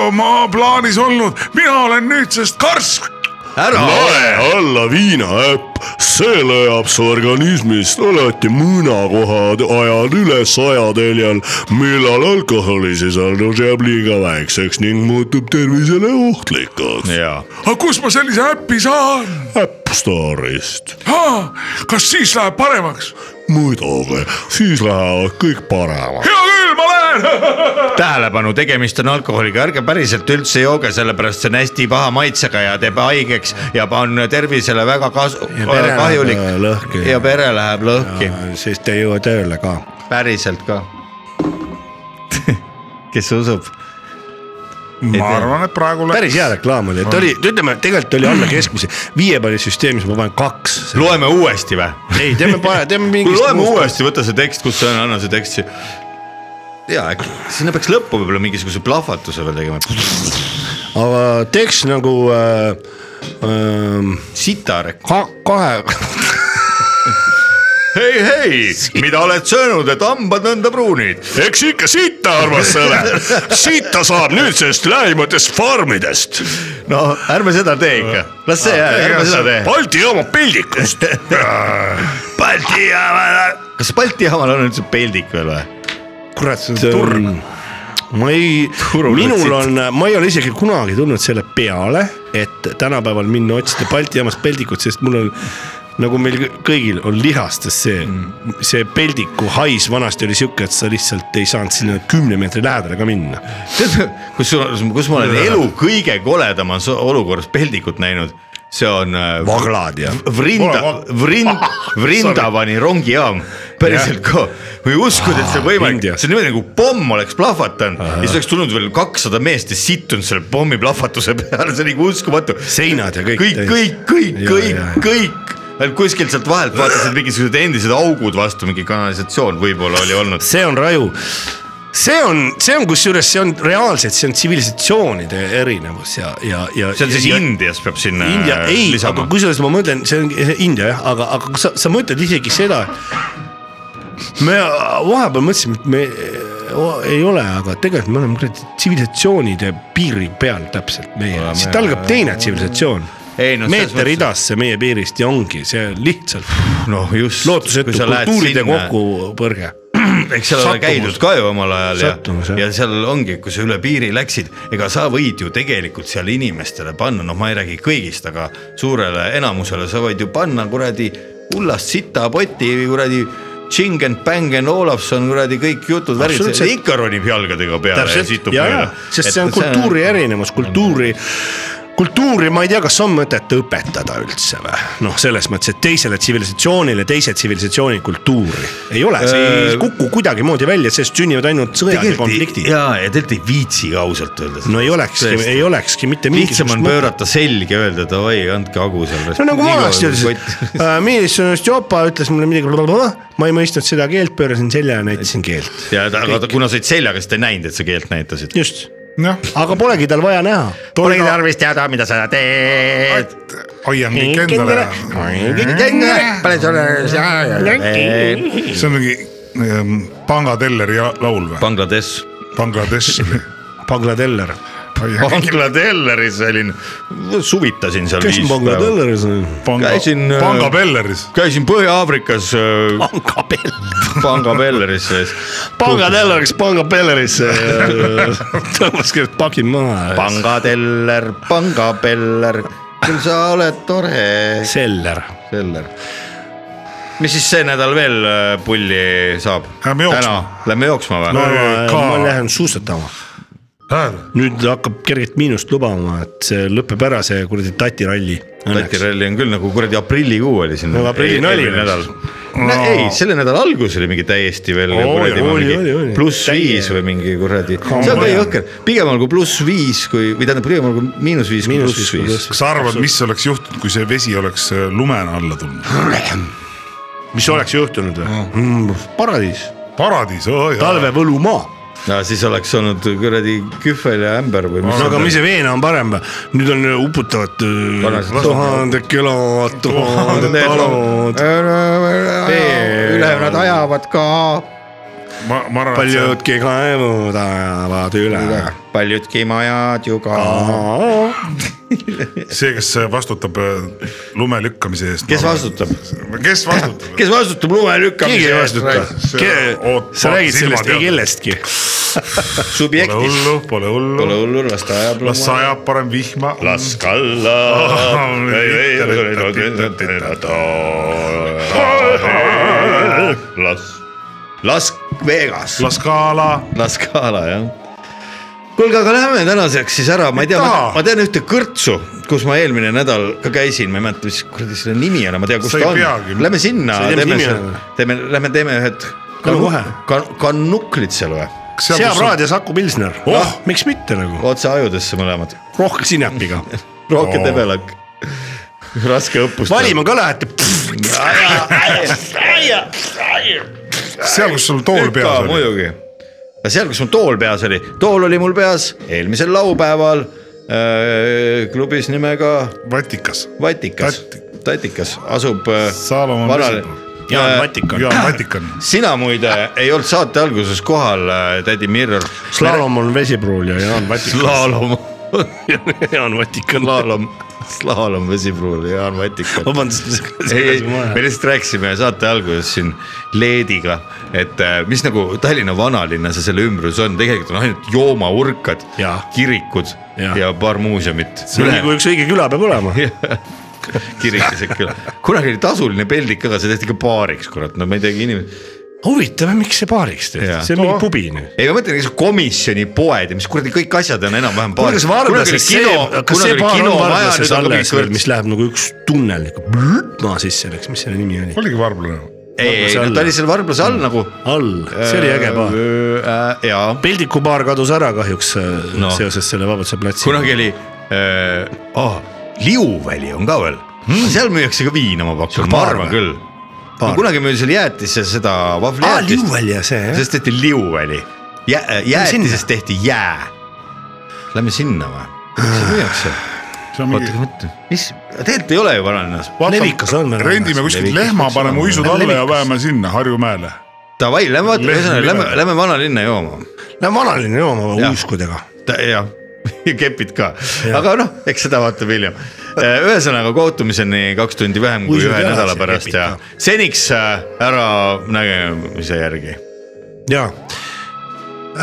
S4: oma plaanis olnud , mina olen nüüdsest karsk .
S5: ära ole .
S6: lae alla viinaäpp , see leiab su organismist alati mõõnakohad ajad üle sajateljel , millal alkoholisisaldus jääb liiga väikseks ning muutub tervisele ohtlikuks .
S5: jaa ,
S4: aga kust ma sellise äppi saan ?
S6: App Store'ist .
S4: kas siis läheb paremaks ?
S6: muidugi , siis lähevad kõik paremaks .
S4: hea küll , ma lähen . *laughs*
S5: tähelepanu , tegemist on alkoholiga , ärge päriselt üldse jooge , sellepärast see on hästi paha maitsega ja teeb haigeks ja on tervisele väga kasu ,
S2: pere läheb,
S5: kahjulik
S2: äh, lõhki.
S5: ja pere läheb lõhki ,
S2: sest ei jõua tööle ka .
S5: päriselt ka . kes usub ?
S4: ma arvan , et praegu läheb .
S2: päris hea reklaam oli , ta oli , ütleme tegelikult oli alla keskmise , viie palli süsteemis ma panen kaks .
S5: loeme uuesti või ?
S2: ei , teeme parem , teeme mingi .
S5: kuule loeme . uuesti , võta see tekst , kus see on , anna see tekst siia . ja äkki sinna peaks lõppu võib-olla mingisuguse plahvatuse veel tegema .
S2: aga teeks nagu äh, . Äh,
S5: sita rekord .
S2: ka- *laughs* kahe ,
S5: hei , hei , mida oled söönud , et hambad nõnda pruunid ?
S6: eks ikka sita , armas sõber , sita saab nüüdsest lähimatest farmidest ,
S5: no ärme seda tee ikka , las see jääb , ärme seda tee .
S6: Balti jaama peldikust .
S5: *laughs* Balti jaamal , kas Balti jaamal on üldse peldik veel või ?
S2: kurat , see on turg . ma ei , minul
S5: Turuplatsid.
S2: on , ma ei ole isegi kunagi tulnud selle peale , et tänapäeval minna otsida Balti jaamast peldikut , sest mul on nagu meil kõ- kõigil on lihastes see , see peldiku hais vanasti oli sihuke , et sa lihtsalt ei saanud sinna kümne meetri lähedale ka minna .
S5: tead , *laughs* kus sul , kus ma olen elu kõige koledamas olukorras peldikut näinud , see on äh,
S2: vaglad ja .
S5: Vrinda , Vrind , Vrindavani rongijaam , päriselt ka , ma ei uskunud , et see on võimalik ,
S2: Indias.
S5: see on niimoodi nagu pomm oleks plahvatanud ja siis oleks tulnud veel kakssada meest ja sittunud selle pommi plahvatuse peale , see on nagu uskumatu .
S2: Seinad ja kõik
S5: kõik , kõik ,
S2: täis.
S5: kõik ,
S2: Jaa,
S5: kõik
S2: jaa, ,
S5: kõik , ainult kuskilt sealt vahelt vaatasid mingisugused endised augud vastu , mingi kanalisatsioon võib-olla oli olnud .
S2: see on raju . see on , see on kusjuures , see on reaalselt , see on tsivilisatsioonide erinevus ja , ja , ja .
S5: see on siis Indias peab sinna äh,
S2: India , ei , aga
S5: lisama .
S2: kusjuures ma mõtlen , see on India jah , aga , aga kas sa , sa mõtled isegi seda , et me vahepeal mõtlesime , et me o, ei ole , aga tegelikult me oleme kuradi tsivilisatsioonide piiri peal täpselt meie , siit algab teine tsivilisatsioon
S5: Ei, no selles
S2: meeter
S5: mõttes-
S2: idasse meie piirist ja ongi see lihtsalt
S5: noh , just .
S2: lootusetu kultuuride . kokkupõrge .
S5: eks seal ole
S2: Sattumus.
S5: käidud ka ju omal ajal ja
S2: Sattumus, , jah.
S5: ja seal ongi , kui sa üle piiri läksid , ega sa võid ju tegelikult seal inimestele panna , noh , ma ei räägi kõigist , aga suurele enamusele sa võid ju panna kuradi hullast sitapoti või kuradi . Chingen , Bängen , Olafson , kuradi kõik jutud , värvid ,
S2: Absoluutselt.
S5: ikka ronib jalgadega peale ja
S2: täpselt ,
S5: situb
S2: ja , ja
S5: mööda .,
S2: sest see on kultuuri erinevus , kultuuri , kultuuri ma ei tea , kas on mõtet õpetada üldse või noh , selles mõttes , et teisele tsivilisatsioonile teise tsivilisatsiooni kultuuri ei ole , see
S5: Öö,
S2: ei kuku kuidagimoodi välja , sest sünnivad ainult sõjad ja konfliktid .
S5: ja , ja tegelikult ei viitsi ka ausalt öeldes .
S2: no ei olekski , ei olekski mitte
S5: lihtsam
S2: mingisugust
S5: on . pöörata selg ja öelda davai , andke agu seal .
S2: no nagu vanasti öeldes , et äh, Miilis Jopa ütles mulle midagi , ma ei mõistnud seda keelt , pöörasin selja ja näitasin keelt .
S5: ja ta- aga ta- kuna sa olid seljaga , siis ta ei näinud , et sa keelt näitasid .
S2: just , aga polegi tal vaja näha .
S5: Polegi tarvis teada , mida sa teed .
S4: hoian kõik endale Mm. ära . see on mingi ähm, pangatelleri ja- laul või ?
S5: Bangladesh .
S4: Bangladesh
S2: *laughs*
S4: oli .
S2: Bangladeller . Oh,
S5: Bangladelleris olin , suvitasin seal
S2: kes
S5: viis päeva .
S2: Bangladelleris on ?
S5: käisin ,
S2: äh,
S4: pangabelleris .
S5: käisin Põhja-Aafrikas äh,
S2: Bangabell .
S5: Bangabelleris sees .
S2: pangadelleris , pangabellerisse ja tõmbaski paki maha .
S5: Bangadeller , Bangabeller , küll sa oled tore .
S2: Seller .
S5: Seller . mis siis see nädal veel äh, pulli saab ?
S4: Lähme jooksma.
S5: Lähme jooksma või
S4: No,
S5: no, ?
S2: ma lähen suusatama , nüüd hakkab kergelt miinust lubama , et see lõpeb ära , see kuradi tatiralli .
S5: Läti ralli on küll nagu kuradi aprillikuu oli siin .
S2: Nagu No aprilline oli veel.
S5: nädal . No, ei , selle nädala alguses oli mingi täiesti veel
S2: Oo,
S5: kuradi
S2: oli,
S5: mingi
S2: oli, oli.
S5: pluss viis või mingi kuradi , see on
S2: on.
S5: täie õhker , pigem olgu pluss viis kui , või tähendab , pigem olgu miinus viis kui
S2: Miinus
S5: pluss
S2: viis kui
S5: viis .
S4: kas sa arvad , mis oleks juhtunud , kui see vesi oleks äh, lumena alla tulnud ?
S2: mis oleks juhtunud või ? paradiis ,
S4: paradiis , oo jaa .
S2: talvevõlumaa .
S5: no siis oleks olnud kuradi kühvel ja ämber või mis
S2: no aga mis see veena on parem või ? nüüd on äh, uputavad
S5: Vanasti-
S2: tuhanded kilod , tuhanded talud ,
S5: ülejäänud ajavad ka ,
S4: ma , ma arvan , et see ,
S2: paljudki kaevud ajavad üle .
S5: paljudki majad ju ka .
S4: see , kes vastutab äh, lume lükkamise eest .
S5: kes ? vastutab ?
S4: kes vastutab ?
S5: kes vastutab lume lükkamise
S2: keegi ei vastuta
S4: See- . oot-
S2: sa räägid
S4: silmad
S2: sellest ei
S4: peal.
S2: kellestki .
S4: Pole
S5: subjektis .
S4: hullu , pole
S5: Pole
S4: hullu ,
S5: hullu , las ta ajab
S4: las sajab parem vihma .
S5: las kalla .
S2: Oh,
S5: las , las Vegas .
S4: las kaala ,
S5: las Scala jah . kuulge , aga läheme tänaseks siis ära , ma ei tea , ma,
S4: Taha.
S5: ma tean ühte kõrtsu , kus ma eelmine nädal ka käisin , ma ei mäleta , mis kuradi selle nimi on , ma tean , kus
S4: Sa ei
S5: ta
S4: peagi.
S5: on . Lähme sinna
S2: Sa ei , tea, mis
S5: teeme
S2: nimi
S5: seal
S2: on? ,
S5: teeme , lähme teeme ühed
S2: Kõla kohe.
S5: kan- kanuklid seal või ,
S2: seab raadios Aku Pilsner
S4: Oh! ,
S2: miks mitte nagu ,
S5: otse ajudesse mõlemad ,
S2: rohke sinepiga .
S5: rohke oh. tebelak , raske õppus .
S2: *laughs* valima ka lähete ,
S4: seal , kus sul tool
S5: ka
S4: peas oli .
S5: muidugi . aga seal , kus mul tool peas oli , tool oli mul peas eelmisel laupäeval öö, klubis nimega
S4: Vatikas ,
S5: Vatikas
S4: Tati- ,
S5: Tatikas asub äh,
S4: Saalomon
S5: vanal-
S4: Vesipuu.
S5: Äh,
S2: Jaan Vatikan ,
S4: jaa , Vatikan .
S5: sina muide ei olnud saate alguses kohal , tädi Mirror .
S2: Slalom on vesipruul ja Jaan Vatikan .
S5: slaalom ,
S2: *laughs* Jaan Vatikan .
S5: slaalom , slaalom vesipruul ja Jaan Matik on .
S2: vabandust . *laughs*
S5: ei , ei , me lihtsalt rääkisime saate alguses siin Leediga , et äh, mis nagu Tallinna vanalinnas ja selle ümbrus on , tegelikult on ainult joomaurkad
S2: Jaa. ,
S5: kirikud ja,
S2: Jaa.
S5: ja paar muuseumit .
S2: nagu üks õige küla peab olema .
S5: kirik isegi küll , kunagi oli tasuline peldik , aga see tehti ka baariks , kurat , no ma ei teagi inimesi .
S2: huvitav , miks see baariks tehti
S5: Jaa. ,
S2: see on mingi pubi nüüd .
S5: ei ma mõtlen , kas komisjoni poed ja mis kuradi kõik asjad on enam-vähem baar .
S2: kas Varbles see , kas see baar on Varbles alles veel , mis läheb nagu üks tunnel nagu blõt maa sisse läks , mis selle nimi oli ?
S4: oligi varblane .
S5: ei , ei ,
S2: Varblase
S5: no ta
S2: alla.
S5: oli seal Varblase all nagu .
S2: all , see oli äge baar .
S5: baar . jaa
S2: peldikubaar kadus ära kahjuks
S5: No.
S2: no. seoses selle Vabaduse platsiga .
S5: kunagi oli äh, , oh, Liuväli on ka veel
S2: Hmm.
S5: mm. , seal müüakse ka viina , ma pakun , ma
S2: baar
S5: arvan
S2: või?
S5: küll . ma kunagi müüsin seal jäätise seda
S2: aa ,
S5: vahvlijäätist ,
S2: Liuväli ja see jah .
S5: sellest tehti Liuväli Jä, , jäätisest
S2: sinna.
S5: tehti jää . Lähme sinna või ? mis seal müüakse ?
S4: see on
S5: oota ,
S4: mingi ,
S5: oota , mis , tegelikult ei ole ju vanalinnas .
S2: Levikas on veel
S4: rendime kuskilt
S5: Levikas,
S4: lehma ,
S5: eks
S4: paneme
S5: ole.
S4: uisud alla ja vajame sinna Harjumäele .
S5: Davai , lähme vaata ,
S4: Lehma
S5: ühesõnaga lähme
S4: nimel. ,
S5: lähme vanalinna jooma .
S2: Lähme vanalinna jooma oma
S5: Jah.
S2: uuskudega .
S5: jah , *laughs* ja kepid ka , aga noh , eks seda vaatab hiljem . ühesõnaga kohtumiseni kaks tundi vähem kui
S2: Uisud
S5: ühe
S2: jalas
S5: nädala
S2: ja
S5: pärast
S2: kepid
S5: ja
S2: ka.
S5: seniks äh, äranägemise järgi .
S2: ja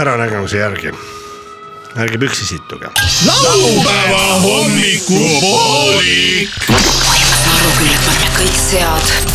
S2: äranägemuse järgi . ärge püksi situge .
S1: sain aru küll , et ma olen kõik sead